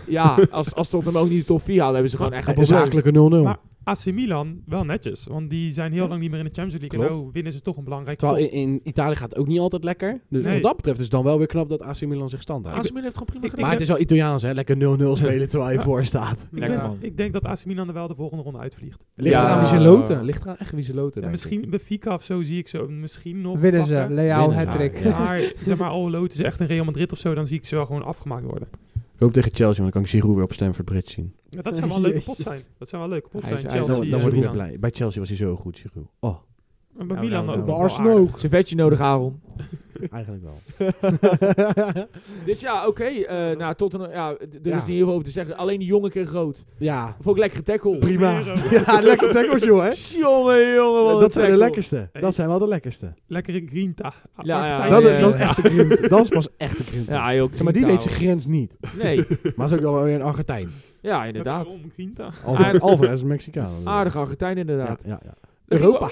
Ja, als, als Tottenham ook niet de top 4 haalde, hebben ze [LAUGHS] gewoon echt een probleem. zakelijke 0-0. Maar- AC Milan wel netjes, want die zijn heel lang niet meer in de Champions League. En Klopt. nou winnen ze toch een belangrijke Terwijl pot. in, in Italië gaat het ook niet altijd lekker. Dus Nee. wat dat betreft is het dan wel weer knap dat AC Milan zich stand houdt. AC Milan heeft gewoon prima Ik- gedaan. Maar het is wel Italiaans, hè? Lekker 0-0 spelen terwijl je voor staat. Ik Lekker, denk- man. Ik denk dat AC Milan er wel de volgende ronde uitvliegt. Ligt Ja. eraan wie ze loten. Ligt eraan echt wie ze loten. En denk ik. misschien bij Fika of zo zie ik ze misschien nog Winnen ze. pakken. Leao Winnen ze, hat-trick. ja. Maar zeg maar, al loten ze echt een Real Madrid of zo, dan zie ik ze wel gewoon afgemaakt worden. Ik hoop tegen Chelsea, want dan kan ik Giroud weer op Stamford Bridge zien. Ja, dat zou wel een leuke pot Jezus. zijn. Dat zou wel een leuke pot Hij is- zijn. hij is- Dan, Chelsea, zie dan je word ik Giroud. weer blij. Bij Chelsea was hij zo goed, Giroud. Oh, En bij Nou, Milan nou, ook. nou. Bij wel Arsenal aardig. ook. Servetje nodig, [LAUGHS] Aaron. eigenlijk wel. Dus ja, oké. eh, nou, Tottenham, ja, d- er Ja. is niet heel veel over te zeggen. Alleen die jongen kreeg rood. Ja, Vond ik lekkere tackle. prima. Romero. [LAUGHS] Ja, lekker tackles, joh, [LAUGHS] hè? Jongen, jongen, wat een Dat zijn de tackle. lekkerste. Dat zijn wel de lekkerste. Lekkere Grinta. Ja, ja, Argentijnse Dat, ja, ja. dat is echt de krimp. [LAUGHS] Dat is pas echt de krimp. Ja, joh, Zeg maar die Quintana. weet zijn grens niet. [LAUGHS] Nee, Maar is ook wel weer een [LAUGHS] Argentijn. ja, inderdaad. Waarom Grinta? Alvarez, Alvarez is een Mexicaan. Aardig Argentijn, Ja, inderdaad. ja, ja. Dan gingen we- Europa.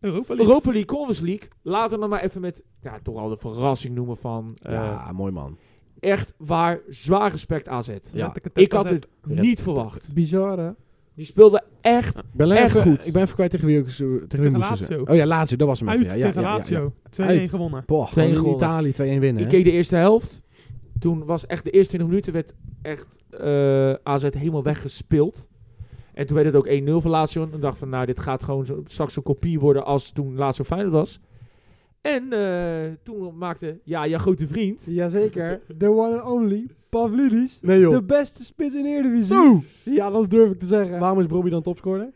Europa League. Europa League, Conference League. Laten we dan maar even met, ja, toch al de verrassing noemen van... eh, ja, mooi man. Echt waar, zwaar respect AZ. Ja. Ik had het niet Ja. verwacht. Bizar, hè? Die speelde echt... Ik ben alleen Echt even, goed. Ik ben even kwijt tegen wie ik zo- tegen wie ik moest Lazio. zeggen. Oh ja, Lazio, dat was hem. even, Uit ja, ja, tegen ja, ja, ja. Lazio. 2-1 Uit. gewonnen. Boah, gewoon in gewonnen. Italië 2-1 winnen. Ik hè? keek de eerste helft. Toen was echt de eerste 20 minuten werd echt eh, AZ helemaal weggespeeld. En toen werd het ook 1-0 voor Lazio. En ik dacht van, nou, dit gaat gewoon zo, straks een kopie worden als toen Lazio Feyenoord was. En eh, toen maakte, ja, jouw grote vriend... Jazeker. The one and only Pavlidis. Nee De joh. beste spits in Eredivisie. Zo! Ja, dat durf ik te zeggen. [LAUGHS] Waarom is Bobby dan topscorer? [LAUGHS]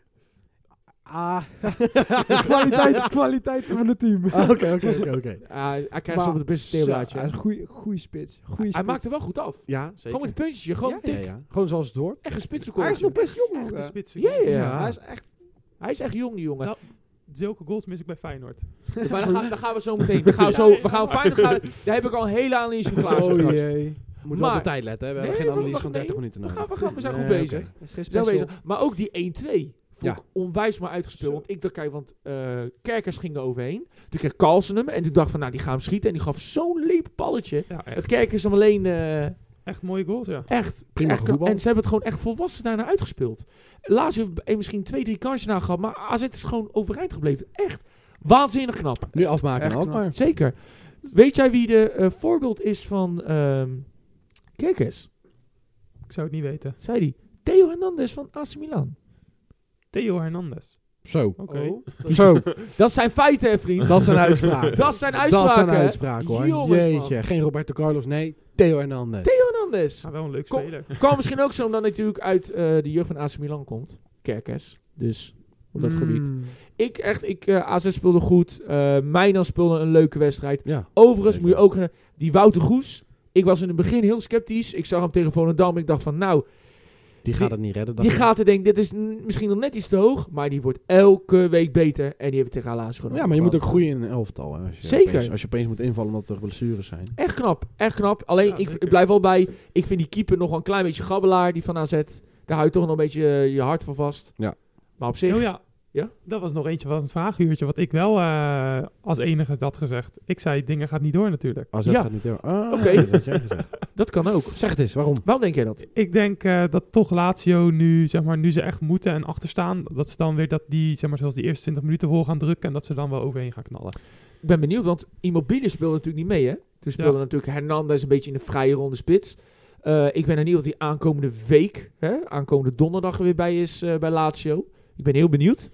Ah, de kwaliteit, de kwaliteit van het team. Ah, Oké, oké, oké, oké. Ah, hij krijgt Maar- ze op het beste Zo, teelblaadje. Hij is een goeie, goeie spits. Goeie Hij spits. maakt er wel goed af. Ja, zeker. Gewoon met puntjes. Gewoon ja, ja, tik. ja. Gewoon zoals het hoort. Echt een spitsenkool. Hij is nog best jong. Echte hè? spits. Ja, ja, ja. Ja. Hij is echt... Hij is echt jong, die jongen. Nou, Zulke goals mis ik bij Feyenoord. Maar dan, gaan- dan gaan we zo meteen. [LAUGHS] Dan gaan we zo, we gaan Feyenoord gaan, daar heb ik al een hele analyse van klaar. zo Oh straks. jee. Moet wel Maar- op de tijd letten. Hè? We Nee, hebben we geen analyse wachten, van 30 nee. minuten we, nodig. gaan, we, gaan, we zijn Nee, goed oké. bezig. Hij is geen We zijn special. bezig. Maar ook die 1-2 vond Ja. ik onwijs maar uitgespeeld. Zo. Want ik dacht, kijk, want eh, Kerkers ging er overheen. Toen kreeg Carlsen hem. En toen dacht ik van, nou, die gaan hem schieten. En die gaf zo'n leep balletje. Ja, echt, Het Kerkers hem alleen... eh, echt mooie goals, ja. Echt. Prima echt gevoetbal. en ze hebben het gewoon echt volwassen daarna uitgespeeld. Lazio heeft eh, misschien twee, drie kansjes na gehad. Maar AZ is gewoon overeind gebleven. Echt waanzinnig knap. Nu afmaken Echt en Alkmaar. Zeker. Weet jij wie de eh, voorbeeld is van... ehm Kerkers? Ik zou het niet weten. Zei die. Theo Hernandez van AC Milan. Theo Hernandez. Zo. Oké. Oh, [LAUGHS] dat- Zo. Dat zijn feiten, hè, [LAUGHS] vriend. Dat zijn uitspraken. Dat zijn uitspraken. Dat zijn hè. uitspraken hoor. Jongens, man. Jeetje. Geen Roberto Carlos, nee. Theo Hernandez. Theo Fernandes. Maar wel een leuk Kom- speler. Kan misschien ook zo omdat hij natuurlijk uit eh, de jeugd van AC Milan komt. Kerkers. Dus op Hmm. dat gebied. Mm. Ik echt, ik, eh AZ speelde goed. Eh Mijnan speelde een leuke wedstrijd. Ja. Overigens Zeker. moet je ook... eh, Die Wouter Goes. Ik was in het begin heel sceptisch. Ik zag hem tegen Volendam. Ik dacht van nou, Die gaat het niet redden. die gaat er denken, dit is n- misschien nog net iets te hoog. Maar die wordt elke week beter. En die hebben we tegen Alaas gewoon Ja, maar je moet ook opgevallen. groeien in een elftal. hè, Als je Zeker. Opeens, als je opeens moet invallen omdat er blessures zijn. Echt knap, echt knap. Alleen, Ja, ik, zeker. ik blijf wel bij... Ik vind die keeper nog wel een klein beetje gabbelaar, die van AZ. Daar hou je toch nog een beetje eh, je hart van vast. Ja. Maar op zich... Oh ja. Ja? Dat was nog eentje van het vragenuurtje, wat ik wel eh, als enige had gezegd. Ik zei, dingen gaat niet door natuurlijk. AZ Ja. gaat niet door. Ah, Oké. dat had jij gezegd. Dat kan ook. Zeg het eens, waarom? Waarom denk jij dat? Ik denk eh, dat toch Lazio nu, zeg maar, nu ze echt moeten en achterstaan, dat ze dan weer dat die, zeg maar, zoals die eerste 20 minuten vol gaan drukken en dat ze dan wel overheen gaan knallen. Ik ben benieuwd, want Immobile speelde natuurlijk niet mee, hè? Toen speelde Ja. natuurlijk Hernandez een beetje in de vrije ronde spits. Eh, ik ben benieuwd dat hij aankomende week, hè, aankomende donderdag er weer bij is eh, bij Lazio. Ik ben heel benieuwd.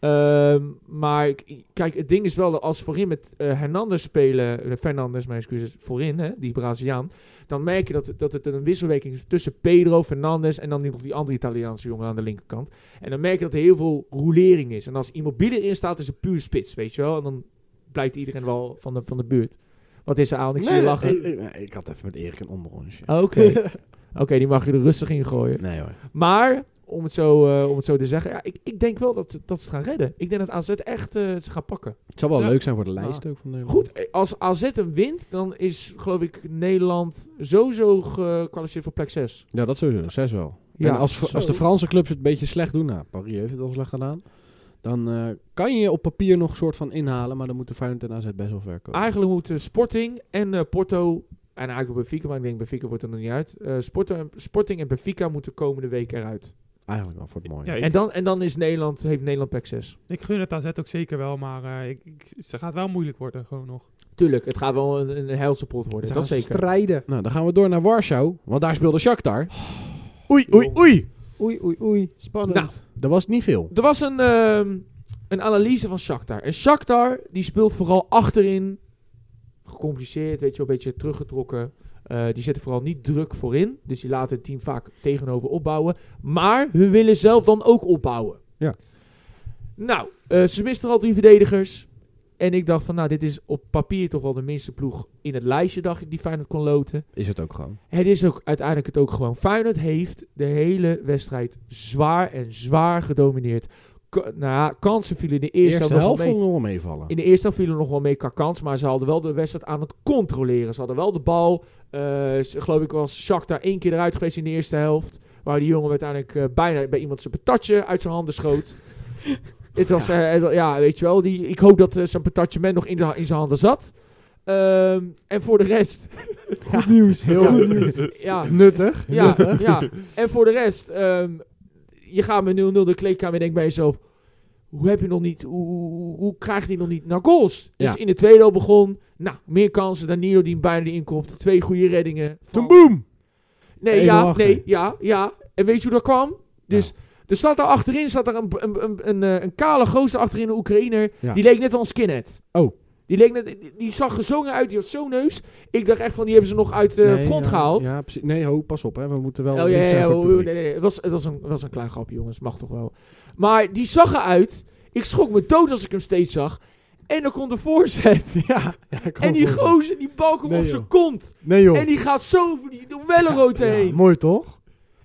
Ehm, maar ik- kijk, het ding is wel dat als voorin met eh Hernandez spelen, eh, Fernandes, mijn excuses, voorin, hè, die Braziliaan, dan merk je dat, dat het een wisselwerking is tussen Pedro, Fernandes en dan die, nog die andere Italiaanse jongen aan de linkerkant. En dan merk je dat er heel veel roulering is. En als Immobile erin staat, is het puur spits, weet je wel. En dan blijkt iedereen wel van de, van de buurt. Wat is er aan? Ik zie je lachen. Ah. Oh, Ik, ik- ik had even met Erik een onderrondje. Oké. Oké, die mag je er rustig in gooien. Nee hoor. Maar, om het zo, eh, om het zo te zeggen, ja, ik, ik denk wel dat, ze- dat ze het gaan redden. Ik denk dat AZ echt eh, ze gaan pakken. Het zou wel Ja. leuk zijn voor de lijst ook. Van de Goed, eh, als AZ hem wint, dan is, geloof ik, Nederland sowieso gekwalificeerd voor plek 6. Ja, dat sowieso. Zes wel. Ja, en als, zo. als de Franse clubs het een beetje slecht doen, nou, Paris heeft het al slecht gedaan, dan eh, kan je op papier nog een soort van inhalen, maar dan moeten Feyenoord en AZ best wel ver komen. Eigenlijk moeten Sporting en eh, Porto, en eigenlijk Benfica, maar ik denk Benfica wordt er nog niet uit. Eh, Sporto en- Sporting en Benfica moeten komende week eruit. Eigenlijk wel voor het mooie. Ja, ik- En dan, en dan is Nederland, heeft Nederland E plek 6. Ik gun het AZ ook zeker wel, maar eh, ik, ik- ze gaat wel moeilijk worden, gewoon nog. Tuurlijk, het gaat wel een, een helse pot worden, Ze dat gaan zeker. Strijden. Nou, dan gaan we door naar Warschau, want daar speelde Shakhtar. Oh. Oei, oei, oei. Oei, oei, oei. Spannend. Nou, Dat was niet veel. Er was een, ehm, een analyse van Shakhtar. En Shakhtar die speelt vooral achterin. Gecompliceerd, weet je wel, een beetje teruggetrokken. Eh, die zetten vooral niet druk voorin. Dus die laten het team vaak tegenover opbouwen. Maar hun willen zelf dan ook opbouwen. Ja. Nou, eh, ze misten al drie verdedigers. En ik dacht van, nou, dit is op papier toch wel de minste ploeg in het lijstje, dacht ik, die Feyenoord kon loten. Is het ook gewoon. Het is ook uiteindelijk het ook gewoon. Feyenoord heeft de hele wedstrijd zwaar en zwaar gedomineerd. K- nou ja, kansen vielen in de eerste, Eerste helft nog helft wel mee. vond ik nog wel meevallen. In de eerste helft vielen nog wel mee qua kans, maar ze hadden wel de wedstrijd aan het controleren. Ze hadden wel de bal. Eh, ze- geloof ik was daar één keer eruit geweest in de eerste helft. Waar die jongen uiteindelijk eh, bijna bij iemand zijn patatje uit zijn handen [LAUGHS] schoot. Het was, eh, het wa- ja, weet je wel. Die, ik hoop dat eh, zijn patatjement nog in, de, in zijn handen zat. Ehm, en voor de rest... Goed nieuws, [LAUGHS] heel Ja. goed nieuws. [LAUGHS] ja, Nuttig. ja, [LAUGHS] ja. En voor de rest, ehm, je gaat met 0-0 de kleedkamer en denkt bij jezelf... Hoe heb je nog niet... Hoe, hoe, hoe krijgt hij nog niet naar goals? Dus Ja. in de tweede al begon... Nou, meer kansen. Danilo die hem bijna erin komt. Twee goede reddingen. van- Toen boem. Nee, Eén ja, achter. nee, ja, ja. En weet je hoe dat kwam? Dus er staat daar achterin staat daar een, een, een, een, eh, een kale gozer achterin, een Oekraïner. Ja. Die leek net wel een skinhead. Oh. Die, leek net, die, die zag gezongen uit, die had zo'n neus. Ik dacht echt van, die hebben ze nog uit de Nee, grond ja, gehaald. Ja, precies. Nee, ho, pas op hè. We moeten wel Oh ja, lief ja, zijn ja, voor het oh, publiek. nee, nee, Het, was, het was, een, het was een klein grapje, jongens. Mag toch wel. Maar die zag eruit. Ik schrok me dood als ik hem steeds zag. En dan komt de voorzet. [LAUGHS] Ja, ja, ik En hoop die het. gozer, die balk hem Nee, op joh. zijn kont. Nee joh. En die gaat zo over die Wellerood Ja, heen. mooi toch?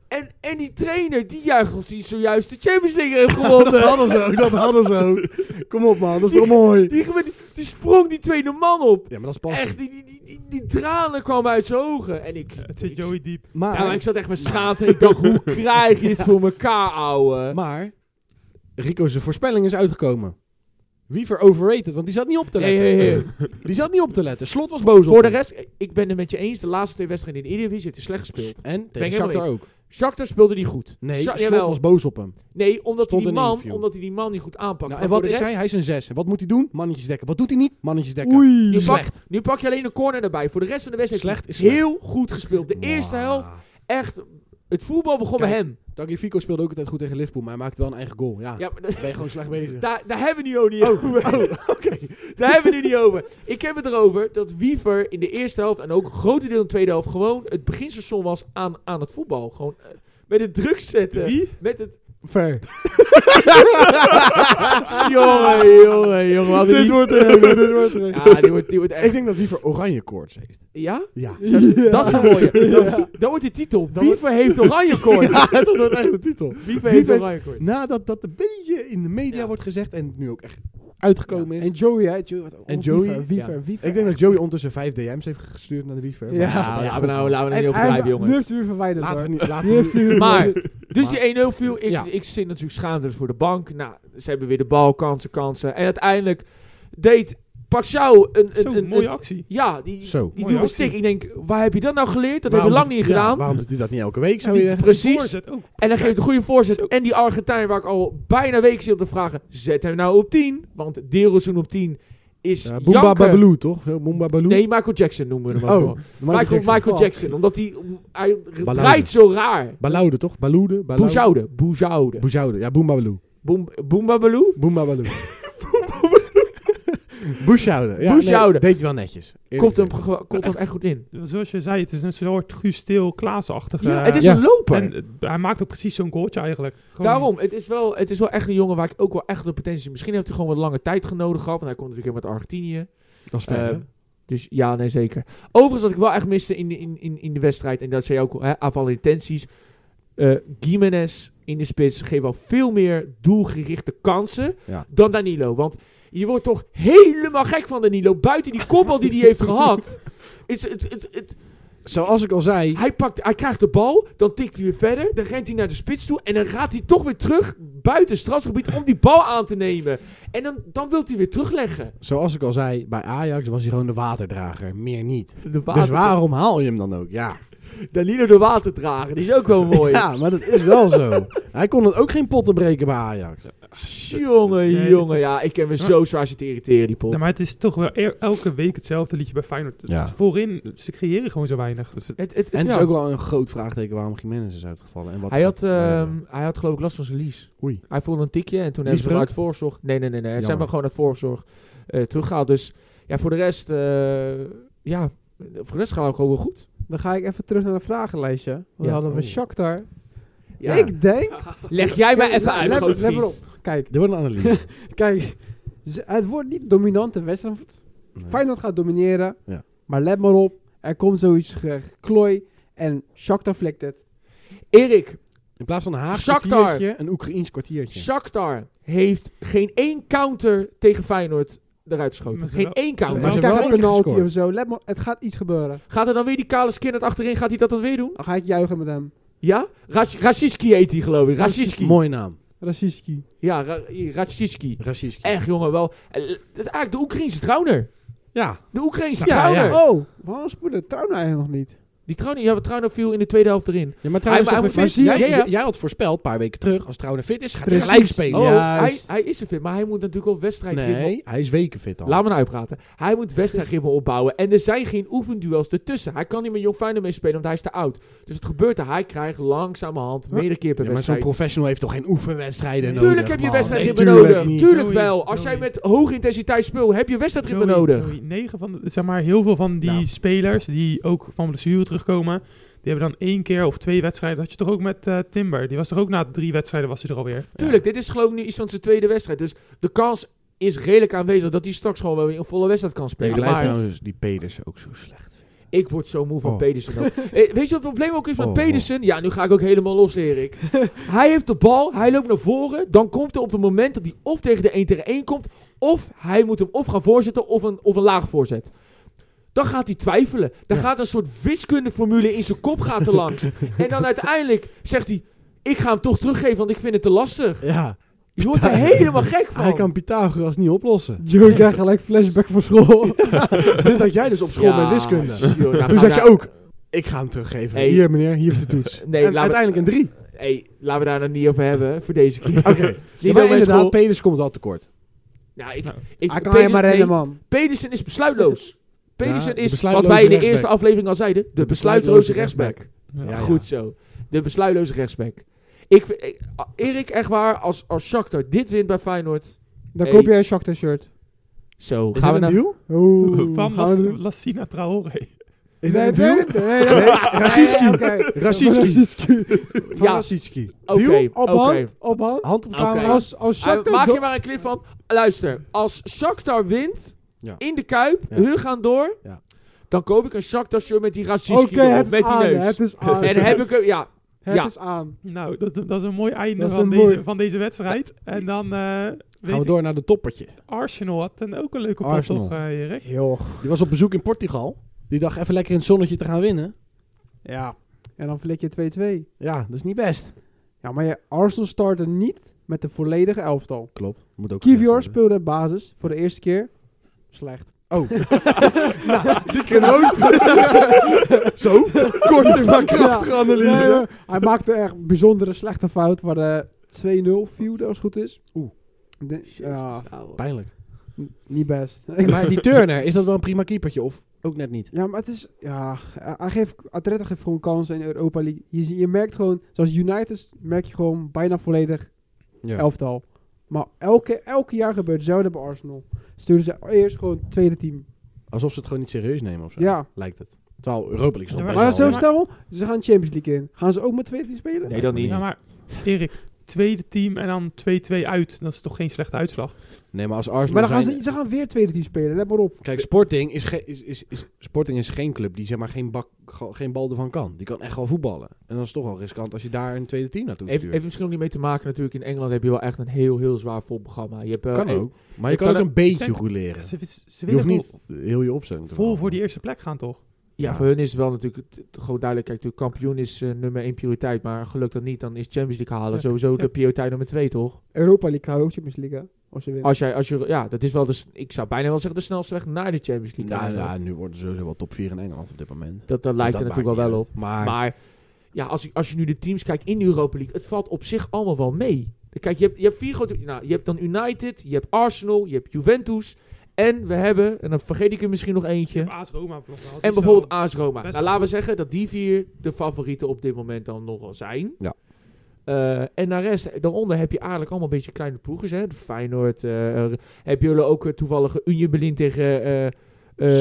en, en die trainer, die juicht of die zojuist de Champions League heeft gewonnen. [LAUGHS] Dat hadden ze ook, dat hadden ze ook. Kom op man, dat is toch mooi. die, die, die sprong die tweede man op. Ja, maar dat is pas. Echt, die, die, die, die, die tranen kwamen uit zijn ogen. En ik... Het zit ik- Joey diep. Maar, Ja, maar Nou, ik zat echt met schaamte. Ik dacht, [LAUGHS] hoe krijg je dit voor elkaar, ouwe? maar Rico's voorspelling is uitgekomen. Wiever overrated, want die zat niet op te Hey, letten. hey, hey. [LAUGHS] Die zat niet op te letten. Slot was boos Voor op de hem. rest, eh, ik ben het met je eens. De laatste twee wedstrijden in de Eredivisie heeft hij slecht gespeeld. En Ben tegen ik helemaal Shakhtar ook. Shakhtar speelde die goed. Nee, Sha- Slot jawel. was boos op hem. Nee, omdat hij, Stond die in een man, interview. omdat hij die man niet goed aanpakt. Nou, Maar en wat voor de is rest- hij? Hij is een 6. En wat moet hij doen? Mannetjes dekken. Wat doet hij niet? Mannetjes dekken. Nu pak- Slecht. Nu pak je alleen een corner erbij. Voor de rest van de wedstrijd Slecht heeft is hij heel goed gespeeld. De eerste helft, echt... Het voetbal begon Kijk, Ah. bij hem. Dat Tagliafico speelde ook altijd goed tegen Liverpool, maar hij maakte wel een eigen goal. Ja, Ja, maar [LAUGHS] dat- ben je gewoon slecht bezig. daar, daar hebben we nu ook niet over. Oh, [LAUGHS] oké. Daar hebben we het niet over. Ik heb het erover dat Wiever in de eerste helft en ook een grote deel in de tweede helft gewoon het beginstation was aan, aan het voetbal. Gewoon eh, met het druk zetten. Wie? Met het. Ver. [LAUGHS] jongen, jongen, jongen. we hadden dit niet- [LAUGHS] wordt er een, dit wordt er een. Ja, die wordt, die wordt Ik echt. denk dat Wiever oranje koorts heeft. Ja? Ja. Dat [LAUGHS] is een mooie. Dat, is- dat wordt de titel. Wiever heeft oranje koorts. dat wordt echt de titel. Wiever heeft heeft- oranje koorts. Nadat dat een beetje in de media Ja. wordt gezegd en het nu ook echt uitgekomen En is. Joey, hè? Joey was ook- En oh, Joey, Wiever, Wiever, ja. Wiever. Ik denk dat Joey ondertussen vijf DM's heeft gestuurd naar de Wiever. Ja. Ja, Van, ben laten je we goed, nou, laten we nou En niet hij overdrijven, Nu jongens. heeft hij weer verwijderd, Laten we hoor. niet. Laten [LAUGHS] Die heeft we hij weer Maar, verwijderd. dus die 1-0 viel. Ik, Ja. ik zit natuurlijk schaamteloos voor de bank. Nou, ze hebben weer de bal, kansen, kansen. En uiteindelijk deed Paxiao een, Zo, een, een, mooie een- actie. Ja, die, Zo. die Mooie duwde actie. stick. Ik denk, waar heb je dat nou geleerd? Dat hebben we lang niet gedaan. waarom doet hij dat niet elke week, zou je Die- zeggen? Precies. Voorzet ook. En dan geeft de goede voorzet. Zo. En die Argentijn, waar ik al bijna weken zit op te vragen, zet hem nou op 10. Want Derozoen op 10 is Ja, janken. Boomba Babaloo, toch? Zo, Boomba Baloo. Nee, Michael Jackson noemen we hem ook Oh, wel. Michael, Jackson, Michael Jackson. Omdat hij, hij Balaude. draait zo raar. Baloude, toch? Baloude? Baloude? Boezoude. Boezoude. Boezoude. Ja, Boomba Baloo. Boem- Boembabaloo? Boomba [LAUGHS] Baloo. [LAUGHS] Boezoude. Ja, Boezoude. Nee, deed hij wel netjes. Eerlijk Komt hem, gezegd. ge- komt hem Echt. echt goed in. Zoals je zei, het is een soort Gusteel Klaas-achtige... Ja, het is ja. een loper. En eh, hij maakt ook precies zo'n goaltje eigenlijk. Gewoon- Daarom, het is, wel, het is wel echt een jongen waar ik ook wel echt de potentie... Misschien heeft hij gewoon wat lange tijd genodig gehad. Want hij komt natuurlijk helemaal uit Argentinië. Dat is ver, Eh, hè? dus ja, nee, zeker. Overigens, wat ik wel echt miste in de, in, in, in de wedstrijd... en dat zei je ook, hè, aanvallende intenties... eh Gimenez in de spits geeft wel veel meer doelgerichte kansen Ja. dan Danilo. Want je wordt toch helemaal gek van Danilo. Buiten die kopbal die hij heeft [LAUGHS] gehad... Is het, het, het, Zoals ik al zei, hij, pakt, hij krijgt de bal, dan tikt hij weer verder, dan rent hij naar de spits toe en dan gaat hij toch weer terug buiten strafgebied om die bal aan te nemen. En dan, dan wil hij weer terugleggen. zoals ik al zei, bij Ajax was hij gewoon de waterdrager. Meer niet. De Dus waarom haal je hem dan ook? Ja, Danilo de waterdrager, die is ook wel mooi. ja maar dat is wel zo. [LAUGHS] Hij kon het ook geen potten breken bij Ajax. Jongen, Nee, dit jongen, is- ja, ik ken me zo zwaar zitten irriteren, die pot. Ja, maar het is toch wel e- elke week hetzelfde liedje bij Feyenoord. Het Ja. is voorin, ze creëren gewoon zo weinig. Dus het- Het- het- het- En het is ja. ook wel een groot vraagteken waarom Jiménez is uitgevallen. En wat hij, had, Ja. ehm, hij had geloof ik last van zijn lies. Oei. Hij voelde een tikje en toen hebben ze hem Liesbreuk? uit voorzorg... Nee, nee, nee, nee. Ze hebben Jammer. hem gewoon uit voorzorg eh, teruggehaald. Dus ja, voor de rest... eh, ja, voor de rest gaat het ook gewoon wel goed. Dan ga ik even terug naar de vragenlijstje. Want Ja. dan hadden we Oh. Shakhtar. Ja. Ik denk... Leg jij mij even uit, Let- grote Let maar vriend. op. Kijk, Dit wordt een [LAUGHS] analyse. kijk. Ze- Het wordt niet dominante wedstrijd. Nee. Feyenoord gaat domineren. Ja. Maar let maar op. Er komt zoiets geklooi. En Shakhtar flikt het. Erik, In plaats van een Haag Shakhtar. kwartiertje, een Oekraïns kwartiertje. Shakhtar heeft geen één counter tegen Feyenoord eruit geschoten. Maar ze Geen wel- één counter. Maar Maar ze ze hebben wel een één keer penalty gescoord. of zo. Let maar, het gaat iets gebeuren. Gaat er dan weer die kale skinner achterin, gaat hij dat dan weer doen? Dan ga ik juichen met hem. Ja? Raciski heet hij geloof ik. Raciski. Mooi naam. Raciski. Ja, Ra- Raciski. Racistisch. Echt jongen, wel. eh, Dat is eigenlijk de Oekraïnse trouwner. Ja. De Oekraïnse Ja, trouwner. ja. Oh, waarom spoelde Trouwner eigenlijk nog niet? Die trouwner, ja, maar trouwner viel in de tweede helft erin. ja, maar trouwens, Hij- hij toch moet fit weer fit. zijn. jij, Ja, ja. jij had voorspeld, een paar weken terug, als Trouwen fit is, gaat hij Precies. gelijk spelen. Oh, hij, Juist. hij is er fit, maar hij moet natuurlijk ook wedstrijdritme... Nee, hij is weken fit al. Laat me nou uitpraten. Hij moet wedstrijdritme opbouwen en er zijn geen oefenduels ertussen. Hij kan niet met Jong Feyenoord mee spelen, want hij is te oud. Dus het gebeurt dat hij krijgt langzamerhand meerdere keer per Ja, maar zo'n wedstrijd. professional heeft toch geen oefenwedstrijden nodig? Tuurlijk heb je man. wedstrijdritme Nee, nodig. tuurlijk niet. Tuurlijk Doei, wel. Als doei. jij met hoge intensiteit speelt, heb je wedstrijdritme Joey, nodig. Joey, negen van de- zeg maar, heel veel van die Nou. spelers die ook van blessure terugkomen, die hebben dan één keer of twee wedstrijden. Dat had je toch ook met eh, Timber. Die was toch ook na drie wedstrijden was hij er alweer. Tuurlijk, dit is geloof ik nu iets van zijn tweede wedstrijd. Dus de kans is redelijk aanwezig dat hij straks gewoon wel weer een volle wedstrijd kan Ik spelen. blijf maar trouwens die Pedersen ook zo slecht. ik word zo moe van Oh. Pedersen. [LAUGHS] ook. Eh, Weet je wat het probleem ook is met Oh, Pedersen? Ja, nu ga ik ook helemaal los, Erik. [LAUGHS] hij heeft de bal, hij loopt naar voren. Dan komt er op het moment dat hij of tegen de 1 tegen 1 komt... of hij moet hem of gaan voorzetten of een, of een laag voorzet. Dan gaat hij twijfelen. Dan Ja. gaat een soort wiskundeformule in zijn kop [LAUGHS] gaat er langs. en dan uiteindelijk zegt hij... ik ga hem toch teruggeven, want ik vind het te lastig. Ja, Je wordt er helemaal gek van. hij kan Pythagoras niet oplossen. [LAUGHS] Joey krijgt gelijk flashback voor school. Dit had jij dus op school Ja, met wiskunde. joh, nou gaan Toen we zei je daar- ook, ik ga hem teruggeven. Hey. Hier meneer, hier heeft de [LAUGHS] toets. Nee, en laten we- uiteindelijk een drie. hey, laten we daar nou niet over hebben voor deze keer. [LAUGHS] Oké. Niet Ja, over maar mijn school. inderdaad, Pedersen komt wel tekort. Ja, ik, Nou, ik, Hij kan Pedersen- helemaal rennen, nee, man. Pedersen is besluitloos. Ja, Pedersen de is, wat besluitloze wij in de rechtsback. eerste aflevering al zeiden, de, besluitloze rechtsback. Ja. Ja, ja. Goed zo. De besluitloze rechtsback. Ik, vind- ik- a- Erik, echt waar, als, als Shakhtar dit wint bij Feyenoord... Dan Hey. koop jij een Shakhtar shirt. Zo, Is gaan we dit naar... een deal? Oeh, Van gaan we Las, doen? Lassina Traoré. [LAUGHS] Is Nee, dit een deal? nee, nee, nee. Nee, Rasitski. Nee, oké. Rasitski. Van Ja. Rasitski. Oké, Deal? oké. Op hand, op hand. Hand op camera. Oké. Als, als Ah, Shakhtar... maak do- je maar een clip van. Luister, als Shakhtar wint Ja. in de Kuip, Ja. hun gaan door, Ja. dan koop ik een Shakhtar shirt met die racistische Oké, het met is die aan. neus. Het is aan. En heb ik hem, [LAUGHS] ja, [LAUGHS] Het ja. is aan. Nou, dat, dat is een mooi einde Dat is van, een deze, mooi- van deze wedstrijd. En dan eh, weet Gaan we ik- door naar de toppertje. Arsenal had een, ook een leuke pot, Arsenal. toch, eh, Erik? Joh. Die was op bezoek in Portugal. Die dacht even lekker in het zonnetje te gaan winnen. Ja. En dan flik je 2-2. Ja, dat is niet best. Ja, maar je Arsenal startte niet met de volledige elftal. Klopt. Moet ook Kivior gezegd worden. speelde basis voor de eerste keer. [LAUGHS] Slecht. [LAUGHS] Oh. nou, die kan ook. [LAUGHS] Zo, korte maar krachtige Nee, analyse. hoor. hij maakte echt bijzondere slechte fout waar de 2-0 viel, als het goed is. Oeh. De- ja, Pijnlijk. n- niet best. [LAUGHS] Maar die Turner, is dat wel een prima keepertje of ook net niet? ja, maar het is... Ja, hij geeft, Atleta geeft gewoon kansen in Europa League. Je, zie- je merkt gewoon, zoals United merk je gewoon bijna volledig Ja. elftal. Maar elke, elke jaar gebeurt hetzelfde bij Arsenal. Sturen ze eerst gewoon het tweede team. Alsof ze het gewoon niet serieus nemen of zo. Ja. Lijkt het. Terwijl Europa League is nog Ja, best Maar wel... zo maar- stel, ze gaan Champions League in. Gaan ze ook met tweede team spelen? Nee, dat niet. Ja, maar Erik, tweede team en dan 2-2 uit. Dat is toch geen slechte uitslag? Nee, maar als Arsenal Maar dan gaan zijn- ze, ze gaan weer tweede team spelen, let maar op. Kijk, Sporting is, ge- is, is, is, Sporting is geen club die zeg maar geen, bak, ge- geen bal ervan kan. Die kan echt wel voetballen. En dat is toch wel riskant als je daar een tweede team naartoe Heeft, stuurt. heeft misschien ook niet mee te maken natuurlijk. In Engeland heb je wel echt een heel, heel zwaar vol programma. Je hebt, eh, kan eh, ook. Maar je kan kan ook ook- een beetje Kijk, rouleren. Ze, ze Je hoeft willen niet niet heel je opstelling vol te veranderen. voor die eerste plek gaan, toch? Ja, Ja. voor hun is het wel natuurlijk het- het gewoon duidelijk. Kijk, natuurlijk, kampioen is eh, nummer één prioriteit. Maar gelukt dat niet, dan is Champions League halen Ja. sowieso Ja. de prioriteit nummer twee, toch? Europa League houden ook Champions League, hè, als ze winnen. Als jij, als je, ja, dat is wel de, s- ik zou bijna wel zeggen, de snelste weg naar de Champions League. Nou, Eigenlijk. ja, nu worden ze sowieso wel top 4 in Engeland op dit moment. Dat, dat lijkt Dus er dat natuurlijk wel maakt wel op. niet uit. Maar, Maar ja, als je, als je nu de teams kijkt in de Europa League, het valt op zich allemaal wel mee. Kijk, je hebt, je hebt vier grote. Nou, je hebt dan United, je hebt Arsenal, je hebt Juventus. En we hebben, en dan vergeet ik er misschien nog eentje. AS Roma. bijvoorbeeld. Die En is wel- bijvoorbeeld AS Roma. best Nou, laten we zeggen dat die vier de favorieten op dit moment dan nogal zijn. Ja. Eh, en naar rest, daaronder heb je eigenlijk allemaal een beetje kleine ploegers. Hè? De Feyenoord. eh, er- hebben jullie ook eh, toevallig Union Berlin tegen... eh, eh,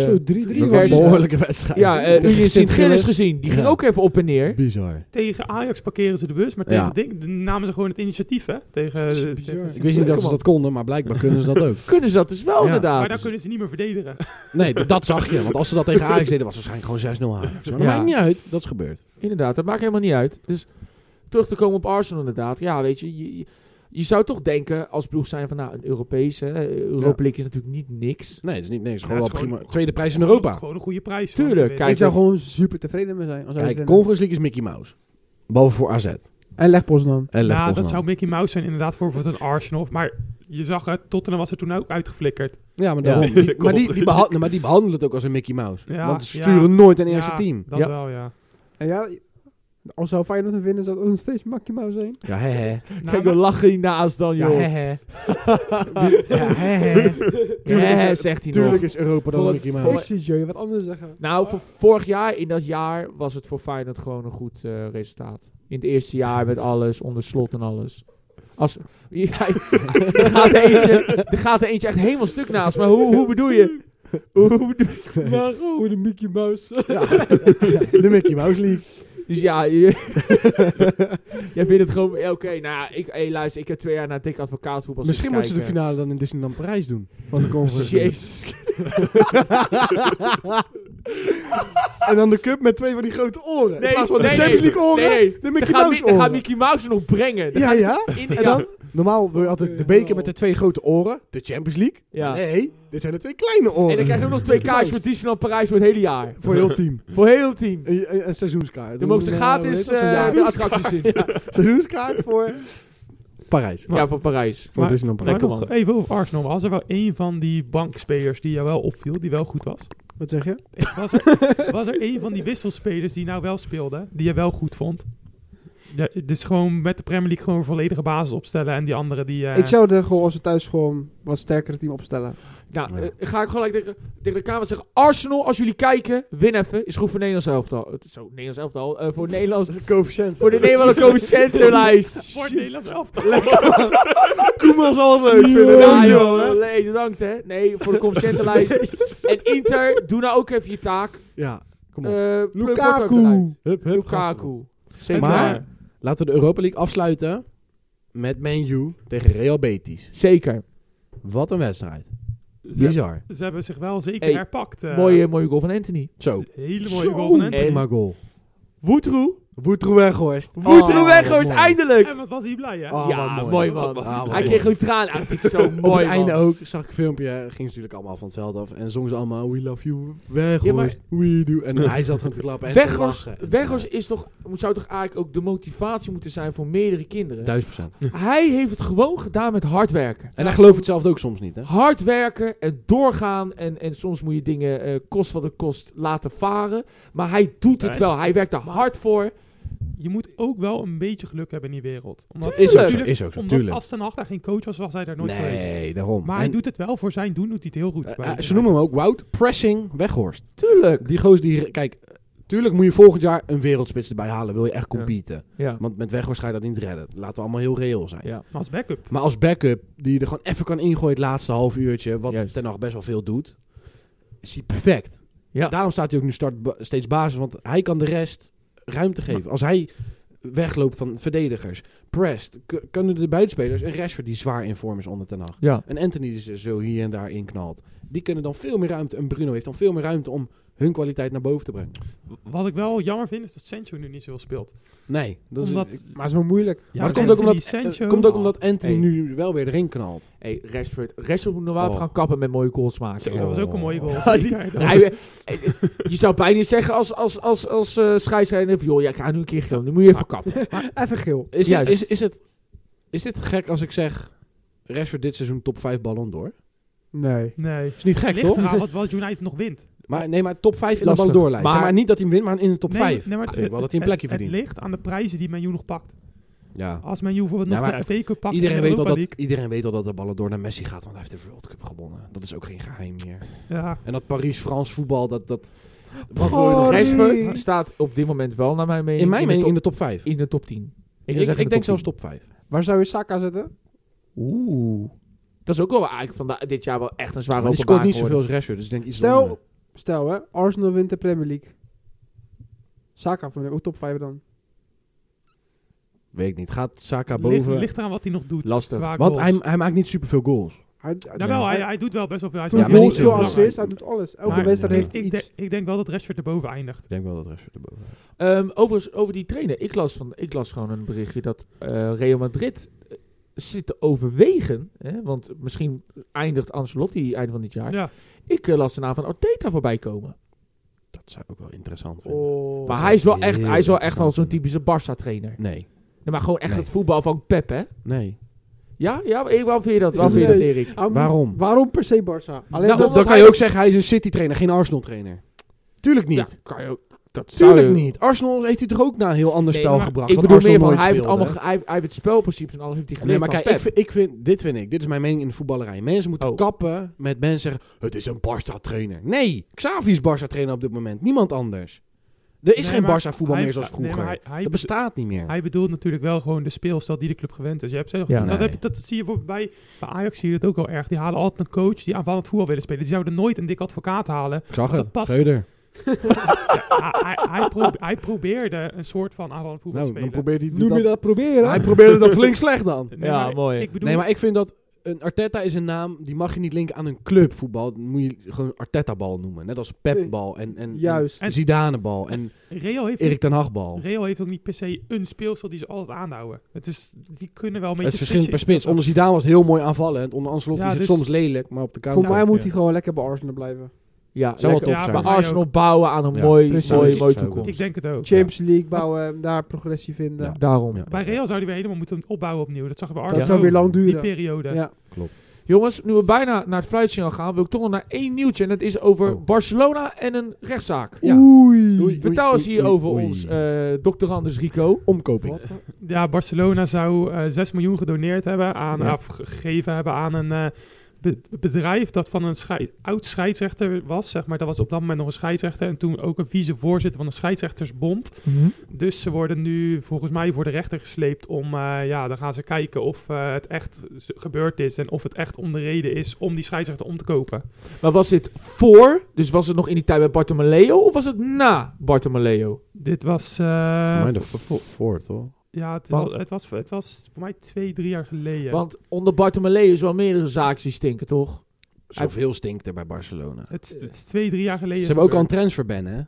Zo, 3-3 dat die was een was versie- het. behoorlijke wedstrijd. [LAUGHS] ja, eh, Union Sint-Gilles Sint-Gilles. gezien. Die ging Ja. ook even op en neer. Bizar. Tegen Ajax parkeren ze de bus, maar tegen Ja. Ding namen ze gewoon het initiatief, hè? Tegen, Dat is bizar. tegen- Ik wist niet dat ze man. dat konden, maar blijkbaar kunnen ze [LAUGHS] dat ook. Kunnen ze dat dus wel, Ja. inderdaad. maar daar kunnen ze niet meer verdedigen. Nee, d- dat zag je. Want als ze dat tegen Ajax deden, was het waarschijnlijk gewoon 6-0 Ajax. Maar dat Ja. maakt niet uit. Dat is gebeurd. Inderdaad, dat maakt helemaal niet uit. Dus terug te komen op Arsenal inderdaad. Ja, weet je, je, je- je zou toch denken als ploeg zijn van nou, een Europese. hè, Europa League is natuurlijk niet niks. Nee, dat is niet niks. Ja, Gewoon het wel is gewoon- prima. Tweede prijs in Europa. Gewoon een goede prijs. Tuurlijk, hoor, om te winnen. kijk, Ik zou gewoon super tevreden mee zijn. Als hij Kijk, het wint. Conference League is Mickey Mouse. Behalve voor AZ. En leg dan. En Ja, Lech dat zou Poznan. Mickey Mouse zijn inderdaad voor bijvoorbeeld een Arsenal. Maar je zag het, Tottenham was er toen ook uitgeflikkerd. Ja, maar, Ja. daarom. Die- maar, die, die beha- nee, maar die behandelen het ook als een Mickey Mouse. Ja, Want ze ja. sturen nooit een eerste Ja, [LAUGHS] team. Dat Ja. wel, ja. En ja, als zou Feyenoord hem winnen, zou het ook nog steeds maximaal zijn. Ja, hè hè. Nou, Kijk, dan lachen je naast dan, Ja, joh. hè Ja, [LAUGHS] hè. Ja, hè hè. hè, Tuurlijk is- zegt hij nog. Tuurlijk is Europa dan Voor een het- Mickey voor Mouse. Ik zie Joey wat anders zeggen. Nou, voor vorig jaar, in dat jaar, was het voor Feyenoord gewoon een goed eh, resultaat. In het eerste jaar met alles, onder slot en alles. Als, [LAUGHS] ja, er, gaat er eentje, er gaat er eentje echt helemaal stuk naast. Maar hoe, hoe bedoel je? Hoe Oh, [LAUGHS] bedoel je? Maar gewoon de Mickey Mouse. Ja. [LAUGHS] De Mickey Mouse League. Dus ja, je, [LAUGHS] jij vindt het gewoon... ja, Oké, nou ja, ik, hey, luister, ik heb twee jaar naar dik advocaatvoetbal Misschien moeten zitten ze de kijken. finale dan in Disneyland Parijs doen. Van de Conference [LAUGHS] League. Jezus. en dan de cup met twee van die grote oren. Nee, In plaats van nee, de Champions nee. League oren, Nee, nee. de Dan Mickey gaat, Mi- Mouse dan oren. gaat Mickey Mouse er nog brengen. Dan ja, ja. gaat- in- En ja. Oh. dan? Normaal wil je altijd de beker met de twee grote oren. De Champions League. Ja. Nee, dit zijn de twee kleine oren. En dan krijg je ook nog twee kaartjes voor Disneyland Parijs voor het hele jaar. Voor heel team. Voor heel het team. Een, een, een seizoenskaart. Dan mogen ze Een, eh, gratis hoe heet dat? eh, de Seizoenskaart. attracties in. Seizoenskaart voor Parijs. Ja, voor Parijs. Voor Maar- Disneyland Maar Parijs. Lekker nog man. even over Arsenal. Was er wel één van die bankspelers die jou wel opviel, die wel goed was? Eh, Wat zeg je? Was er, was er één van die wisselspelers die nou wel speelde, die je wel goed vond? Ja, dus gewoon met de Premier League gewoon een volledige basis opstellen. En die andere die... eh, Ik zou er gewoon als het thuis gewoon wat sterkere team opstellen. Nou, Oh Ja. eh, ga ik gelijk tegen, tegen de Kamer zeggen... Arsenal, als jullie kijken, win even. Is goed voor Nederlands elftal. Eh, Zo, Nederlands elftal. eh, voor Nederlands... coëfficiënt. Voor de Nederlandse coëfficiëntenlijst. Voor het Nederlands elftal. [LAUGHS] Koeman zal het leuk Ja, vinden. Dank je wel, joh. hè. Nee, bedankt hè. Nee, voor de [LAUGHS] coëfficiëntenlijst. en Inter, doe nou ook even je taak. Ja, kom op. Eh pluk Porto ook Lukaku! eruit. hup, hup, gasten. Lukaku. Zeker Maar- waar. Laten we de Europa League afsluiten met Man U tegen Real Betis. Zeker. Wat een wedstrijd. Ze, Bizar. ze hebben zich wel zeker Hey, herpakt. eh. mooie, mooie goal van Anthony. Zo. Hele mooie Zo, goal van Anthony. En- Prima goal. Oh, Woetroe. Woetroe Weghorst. Woetroe Weghorst, eindelijk. En wat was hij blij, hè? Oh, ja, wat mooi, mooi. man. Wat mooi. Hij kreeg ook tranen uit. Vind ik Zo Op mooi het einde man. ook zag ik een filmpje. Gingen ze natuurlijk allemaal van het veld af. En zongen ze allemaal We love you, Weghorst. Ja, maar- We do. En hij zat gewoon te klappen en te Weghorst, lachen. Weghorst is toch, moet- zou toch eigenlijk ook de motivatie moeten zijn voor meerdere kinderen. Duizend procent. Hij heeft het gewoon gedaan met hard werken. En hij gelooft het zelf ook soms niet, Ah, hè? Hard werken en doorgaan. En, en soms moet je dingen, eh, kost wat het kost, laten varen. Maar hij doet het Nee. wel. Hij werkt er hard voor. Je moet ook wel een beetje geluk hebben in die wereld. Omdat, Tuurlijk. Is ook zo, Tuurlijk, is ook zo, omdat tuurlijk. als Ten Hag daar geen coach was, was hij daar nooit geweest. Nee, daarom. Maar hij En, doet het wel voor zijn doen, doet hij het heel goed. eh, bij eh, ze United. noemen hem ook Wout Pressing Weghorst. Tuurlijk. Die gozer die... Kijk, tuurlijk moet je volgend jaar een wereldspits erbij halen. Wil je echt competen. Ja. Want met Weghorst ga je dat niet redden. Laten we allemaal heel reëel zijn. Ja. Maar als backup. Maar als backup, die je er gewoon even kan ingooien het laatste half uurtje, wat Juist. Ten Hag best wel veel doet, is hij perfect. Ja. Daarom staat hij ook nu start ba- steeds basis, want hij kan de rest ruimte geven. Als hij wegloopt van verdedigers, pressed, k- kunnen de buitenspelers een Rashford die zwaar in vorm is onder Ten Hag. Ja. En Anthony die ze zo hier en daar inknalt. Die kunnen dan veel meer ruimte, en Bruno heeft dan veel meer ruimte om hun kwaliteit naar boven te brengen. Wat ik wel jammer vind, is dat Sancho nu niet zoveel speelt. Nee, dat is... Omdat- ik- Maar het is wel moeilijk. Ja, maar dat Anthony komt ook, omdat, Sancho- eh, komt ook omdat Anthony Hey. nu wel weer erin knalt. Hey, Rashford. Rashford moet nog wel even Oh. gaan kappen met mooie goals maken. Zo, dat was ook een mooie goal. Ja, die- zeker. [LAUGHS] Dat was- Hij, eh, eh, je zou bijna zeggen als, als, als, als eh scheidsrechter van... joh, ja, ik ga nu een keer gaan. Dan moet je even kappen. Even geel. Is, Juist. het, is, is, het, is dit gek als ik zeg... Rashford dit seizoen top 5 ballon door? Nee. Nee. Is niet gek, Ligt toch? eraan wat, wat United nog wint. Maar, nee, maar top 5 in de Lastig. ballon door lijst. Maar- Zeg maar niet dat hij hem wint, maar in de top Nee, 5. nee, maar ik vind wel dat hij een het- plekje verdient. Het ligt aan de prijzen die Menu nog pakt. Ja. Als Menu bijvoorbeeld Ja, nog maar de FA Cup pakt... Iedereen en de weet, al Europa dat, iedereen weet al dat de ballon door naar Messi gaat, want hij heeft de World Cup gewonnen. Dat is ook geen geheim meer. League. Ja. En dat Paris-Frans voetbal, dat... dat wat Goh, Oh, wil je nog? nee. Rashford staat op dit moment wel, naar mijn mening, In mijn mening in de de top 5. top, in de top 10. Ik, zou zeggen in de ik denk top zelfs 10. top 5. Waar zou je Saka zetten? Oeh. Dat is ook wel eigenlijk van da- dit jaar wel echt een zware Maar die scoort openbaring niet zoveel geworden. als Rashford, dus ik denk iets Stel- eronder. Stel hè, Arsenal wint de Premier League. Saka van de ook top 5 dan. Weet ik niet. Gaat Saka Ligt, boven? ligt eraan wat hij nog doet. Lastig. Qua Want goals. hij, hij maakt niet superveel goals. Hij, Nou wel, hij, hij doet wel best wel veel. Hij is veel Ja, wel maar niet goals, zo veel belangrijk. assists, hij doet alles. Elke Maar- wedstrijd Ja. heeft Ik, iets. denk- ik denk wel dat Rashford erboven eindigt. Ik denk wel dat Rashford erboven gaat. Ehm, overigens, over die trainer. Ik las, van, ik las gewoon een berichtje dat eh, Real Madrid eh, zit te overwegen. Hè, want misschien eindigt Ancelotti eind van dit jaar. Ja. Ik eh, las de naam van Arteta voorbij komen. Dat zou ik ook wel interessant vinden. Oh. Maar Oh, zou hij is wel ik echt, heel hij is wel echt wel zo'n interessant typische Barca-trainer. Nee. Nee, maar gewoon echt Nee. het voetbal van Pep, hè? Nee. Ja? Ja? maar- Waarom vind je dat, waarom vind je dat Nee. Ah, Erik? Waarom- Waarom? Waarom per se Barça? Alleen Nou, dat omdat Dan kan hij je ook ook- zeggen, hij is een City-trainer, geen Arsenal-trainer. Tuurlijk niet. Ja, kan je ook. Dat zou Tuurlijk je- niet. Arsenal heeft u toch ook naar een heel ander Nee, spel maar gebracht. Ik wat bedoel Arsenal meer van, nooit hij heeft, speelde. allemaal, ge- hij, hij heeft het spelprincipes en alles heeft hij Nee, geleerd van maar kijk, ik [LAUGHS] Pep. vind, ik vind, dit vind ik, dit is mijn mening in de voetballerij. Mensen moeten Oh. kappen met mensen zeggen, het is een Barca-trainer. Nee, Xavi is Barca-trainer op dit moment. Niemand anders. Er is Nee, geen maar Barca-voetbal hij- meer zoals nee, maar vroeger. hij- hij dat bedo- bestaat niet meer. Hij bedoelt natuurlijk wel gewoon de speelstijl die de club gewend is. Je hebt, zelf- Ja. dat, Nee. heb, je- dat zie je bijvoorbeeld bij, bij Ajax zie je dat ook wel erg. Die halen altijd een coach die aanvallend voetbal willen spelen. Die zouden nooit een dik advocaat halen. [LAUGHS] ik zag dat het. past- Schreuder. Nou, hij, hij- hij pro- hij probeerde een soort van aanvallend voetbal Nou, te dan spelen. probeert hij noem je dat. dat proberen. [LAUGHS] Hij probeerde dat flink slecht dan. Nee, Ja, maar mooi. Ik bedoel, Nee, maar ik vind dat een Arteta is een naam die mag je niet linken aan een clubvoetbal. Dan moet je gewoon Arteta bal noemen, net als Pep bal en en Juist. en Zidane bal en Real, heeft Erik ten Hag bal. Real heeft ook niet per se een speelstijl die ze altijd aanhouden. Het is, die kunnen wel een beetje... Het verschilt per switchen. spits. Onder Zidane was het heel mooi aanvallend, onder Ancelotti Ja, is het dus- soms lelijk, maar op de Voor counter. mij moet Ja. hij gewoon lekker bij Arsenal blijven. Ja, Zou wel lekker. top Ja, zijn. Maar Mij Arsenal ook. bouwen aan een Ja, mooi, precies. mooi, Zou mooie ik toekomst. Ik denk het ook. Champions League bouwen, daar progressie vinden. Ja. Daarom. Ja. Bij Real zou die weer helemaal moeten opbouwen opnieuw. Dat zag je bij Dat Arsenal zou weer ook, lang Die duren. periode. Ja. Jongens, nu we bijna naar het fluitsignaal gaan, wil ik toch nog naar één nieuwtje. En dat is over Oh. Barcelona en een rechtszaak. Ja. Oei. Oei. Vertel eens oei, hier oei, over oei. ons eh dokter Anders Rico. Omkoping. Ja, Barcelona zou eh 6 miljoen gedoneerd hebben aan, Ja. of gegeven hebben aan een eh, be- bedrijf dat van een schei- oud scheidsrechter was. Zeg maar, dat was op dat moment nog een scheidsrechter en toen ook een vicevoorzitter van de scheidsrechtersbond. Mhm. Dus ze worden nu volgens mij voor de rechter gesleept om, eh, ja, dan gaan ze kijken of eh, het echt z- gebeurd is en of het echt om de reden is om die scheidsrechter om te kopen. Maar was dit voor, dus was het nog in die tijd bij Bartomeu of was het na Bartomeu? Dit was, eh, Voor mij de vo- v- voor, toch? ja, het, Want- was, het, was, het was voor mij twee, drie jaar geleden. Want onder Bartomeu is wel meerdere zaken die stinken, toch? Zoveel stinkt er bij Barcelona. het, is- het is twee, drie jaar geleden. Ze hebben ook al een gebeurd. transferban, hè?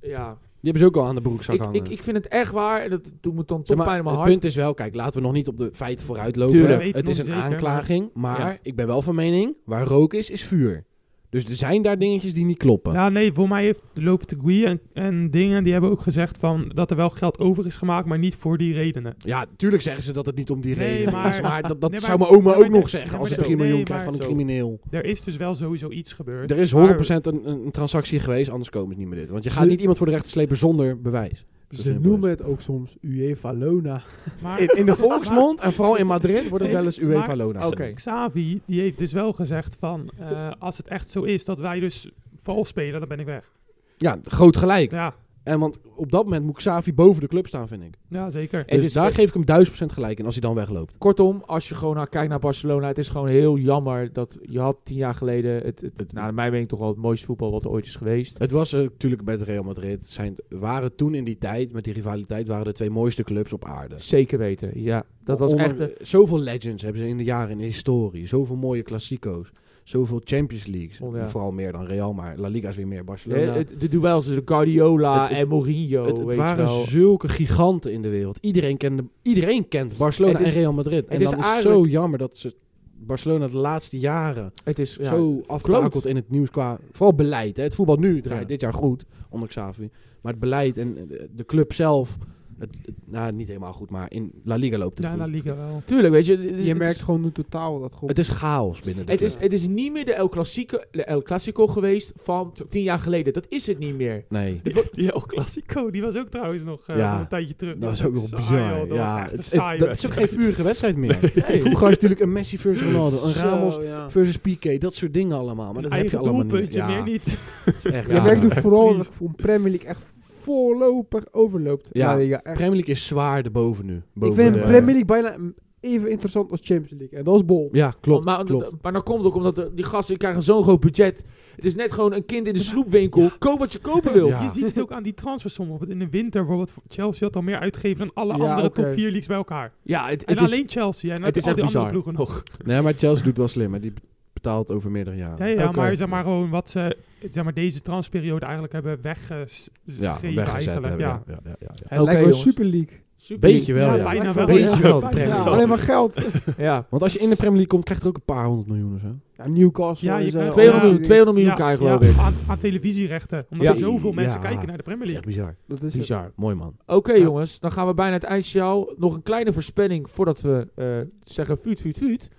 Ja. Die hebben ze ook al aan de broekzak Ik, hangen. ik, ik vind het echt waar, en dat doet me dan eh, toch Zeg maar, pijn in mijn het hart. punt is wel, kijk, laten we nog niet op de feiten vooruit lopen. Tuurlijk. We weten Het nog is een niet zeker, aanklaging, maar Ja. ik ben wel van mening, waar rook is, is vuur. Dus er zijn daar dingetjes die niet kloppen. Ja, nee, voor mij heeft lopen de Gui en, en dingen, die hebben ook gezegd van dat er wel geld over is gemaakt, maar niet voor die redenen. Ja, tuurlijk zeggen ze dat het niet om die Nee, reden is. maar- Maar dat, dat Nee, maar- zou mijn oma nee, ook maar- nog nee, zeggen maar als ze zo. 3 miljoen Nee, krijgt maar van een zo. crimineel. Er is dus wel sowieso iets gebeurd. Er is 100% maar- een, een, een transactie geweest, anders komen ze niet meer dit. Want je gaat niet iemand voor de rechter slepen zonder bewijs. Ze noemen het ook soms UEFA Lona. [LAUGHS] Maar In, in de volksmond en vooral in Madrid wordt Nee, het wel eens UEFA maar- Lona. Oké. Xavi, die heeft dus wel gezegd van eh, als het echt zo is dat wij dus vals spelen, dan ben ik weg. Ja, groot gelijk. Ja, En want op dat moment moet Xavi boven de club staan, vind ik. ja zeker. Het Dus is- daar geef ik hem 1000% gelijk in als hij dan wegloopt. Kortom, als je gewoon naar, kijkt naar Barcelona, het is gewoon heel jammer dat je had tien jaar geleden, het, het, het- nou, naar mijn mening toch wel het mooiste voetbal wat er ooit is geweest. Het was eh, natuurlijk met Real Madrid. Zijn, waren toen in die tijd, met die rivaliteit, waren de twee mooiste clubs op aarde. Zeker weten, ja. Dat was Eh. Onder- echt... de- Zoveel legends hebben ze in de jaren in de historie. Zoveel mooie klassico's. Zoveel Champions Leagues. Oh, ja. Vooral meer dan Real, maar La Liga is weer meer Barcelona. eh, het- de duels tussen Guardiola nou. Het- het- en Mourinho, het, het weet je waren wel. zulke giganten in de wereld. Iedereen, kende, iedereen kent Barcelona Het is- en Real Madrid. En is dan is het zo eigenlijk- jammer dat ze Barcelona de laatste jaren Het is ja, zo aftakelt in het nieuws qua vooral beleid. Hè. Het voetbal nu draait Ja. dit jaar goed onder Xavi, maar het beleid en eh, de- de club zelf, het, het- nou niet helemaal goed, maar in La Liga loopt het Ja, goed. La Liga wel. Tuurlijk, weet je. Het is, Je het is- merkt gewoon nu totaal dat gewoon... Het is chaos binnen de het club. is, het is niet meer de El, Clasico, de El Clasico geweest van t- tien jaar geleden. Dat is het niet [LAUGHS] meer. Nee, Die, die El Clasico, die was ook trouwens nog eh, Ja, een tijdje terug. dat is ook nog Saai, bizar. joh, Dat ja, was echt een het- saaie het- dat is ook wedstrijd. geen vurige wedstrijd meer. Vroeger had je natuurlijk een Messi versus Ronaldo, een Ramos Zo, ja. versus Piqué, dat soort dingen allemaal. Maar dat heb je Eigen allemaal niet. doelpuntje, Ja, meer [LAUGHS] niet. het is echt Je Je raar. merkt De ook vooral Triest. dat gewoon Premier League echt voorlopig overloopt. Ja. La Liga, echt. Premier League is zwaar erboven nu. Ik Boven vind de- de Premier League bijna mm, even interessant als Champions League. En dat is bol. Ja, Oh, klopt. maar, klopt. maar dan komt het ook omdat de- die gasten die krijgen zo'n groot budget. Het is net gewoon een kind in de snoepwinkel. Koop wat je kopen wil. Ja. Je ziet het ook aan die transfersommen. Want In de winter bijvoorbeeld, Chelsea had al meer uitgegeven dan alle Ja, andere oké. top 4 leagues bij elkaar. Ja, het, En het is, alleen Chelsea. En het is al echt die andere bizar. ploegen nog. Nee, maar Chelsea doet wel slim. Hè. Die betaalt over meerdere jaren. Ja, ja Oké. maar zeg maar gewoon wat ze zeg maar, deze transperiode eigenlijk hebben weggegeven. ja, weggezet eigenlijk. hebben. ja. Ja. Ja, ja, ja, ja. Het Oké, lijkt wel jongens. Super League. Super Beetje wel, ja. Ja, bijna wel. Beetje Ja, wel, de bijna Premier Ja, League. alleen maar geld. Ja. Want als je in de Premier League komt, krijg je er ook een paar honderd miljoen of zo. Ja, Newcastle. Ja, je is, eh, krijgt 200 Ja. miljoen, 200 miljoen Ja, krijgen ja, geloof ik. Aan, aan televisierechten. Omdat Ja. er zoveel mensen Ja. kijken naar de Premier Dat is echt League. bizar. Dat is het. Bizar. Mooi man. Oké Ja. jongens, dan gaan we bijna het eindsignaal. Nog een kleine voorspelling voordat we eh, zeggen vuut, vuut, vuut.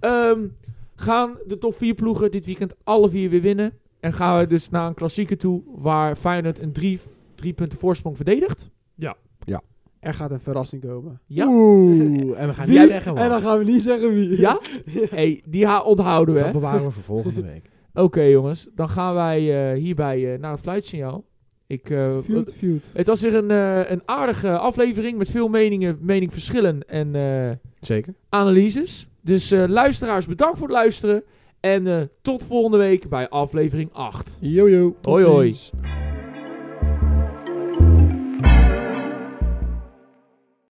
Ehm, gaan de top 4 ploegen dit weekend alle vier weer winnen? En gaan we dus naar een klassieke toe waar Feyenoord een 3 drie punten voorsprong verdedigt? Er gaat een verrassing komen. Ja? Oeh, en we gaan Wie- niet zeggen En wat. dan gaan we niet zeggen [LAUGHS] wie. Ja? hey, die ha onthouden we. hè? Dat bewaren we voor volgende week. Oké jongens, dan gaan wij eh, hierbij eh, naar het fluitsignaal. Ik, eh, Feud, feud. het was weer een, eh, een aardige aflevering met veel meningen, meningverschillen en... eh, Zeker. analyses. Dus eh, luisteraars, bedankt voor het luisteren. En eh, tot volgende week bij aflevering 8. Jojo. Hoi hoi. ziens.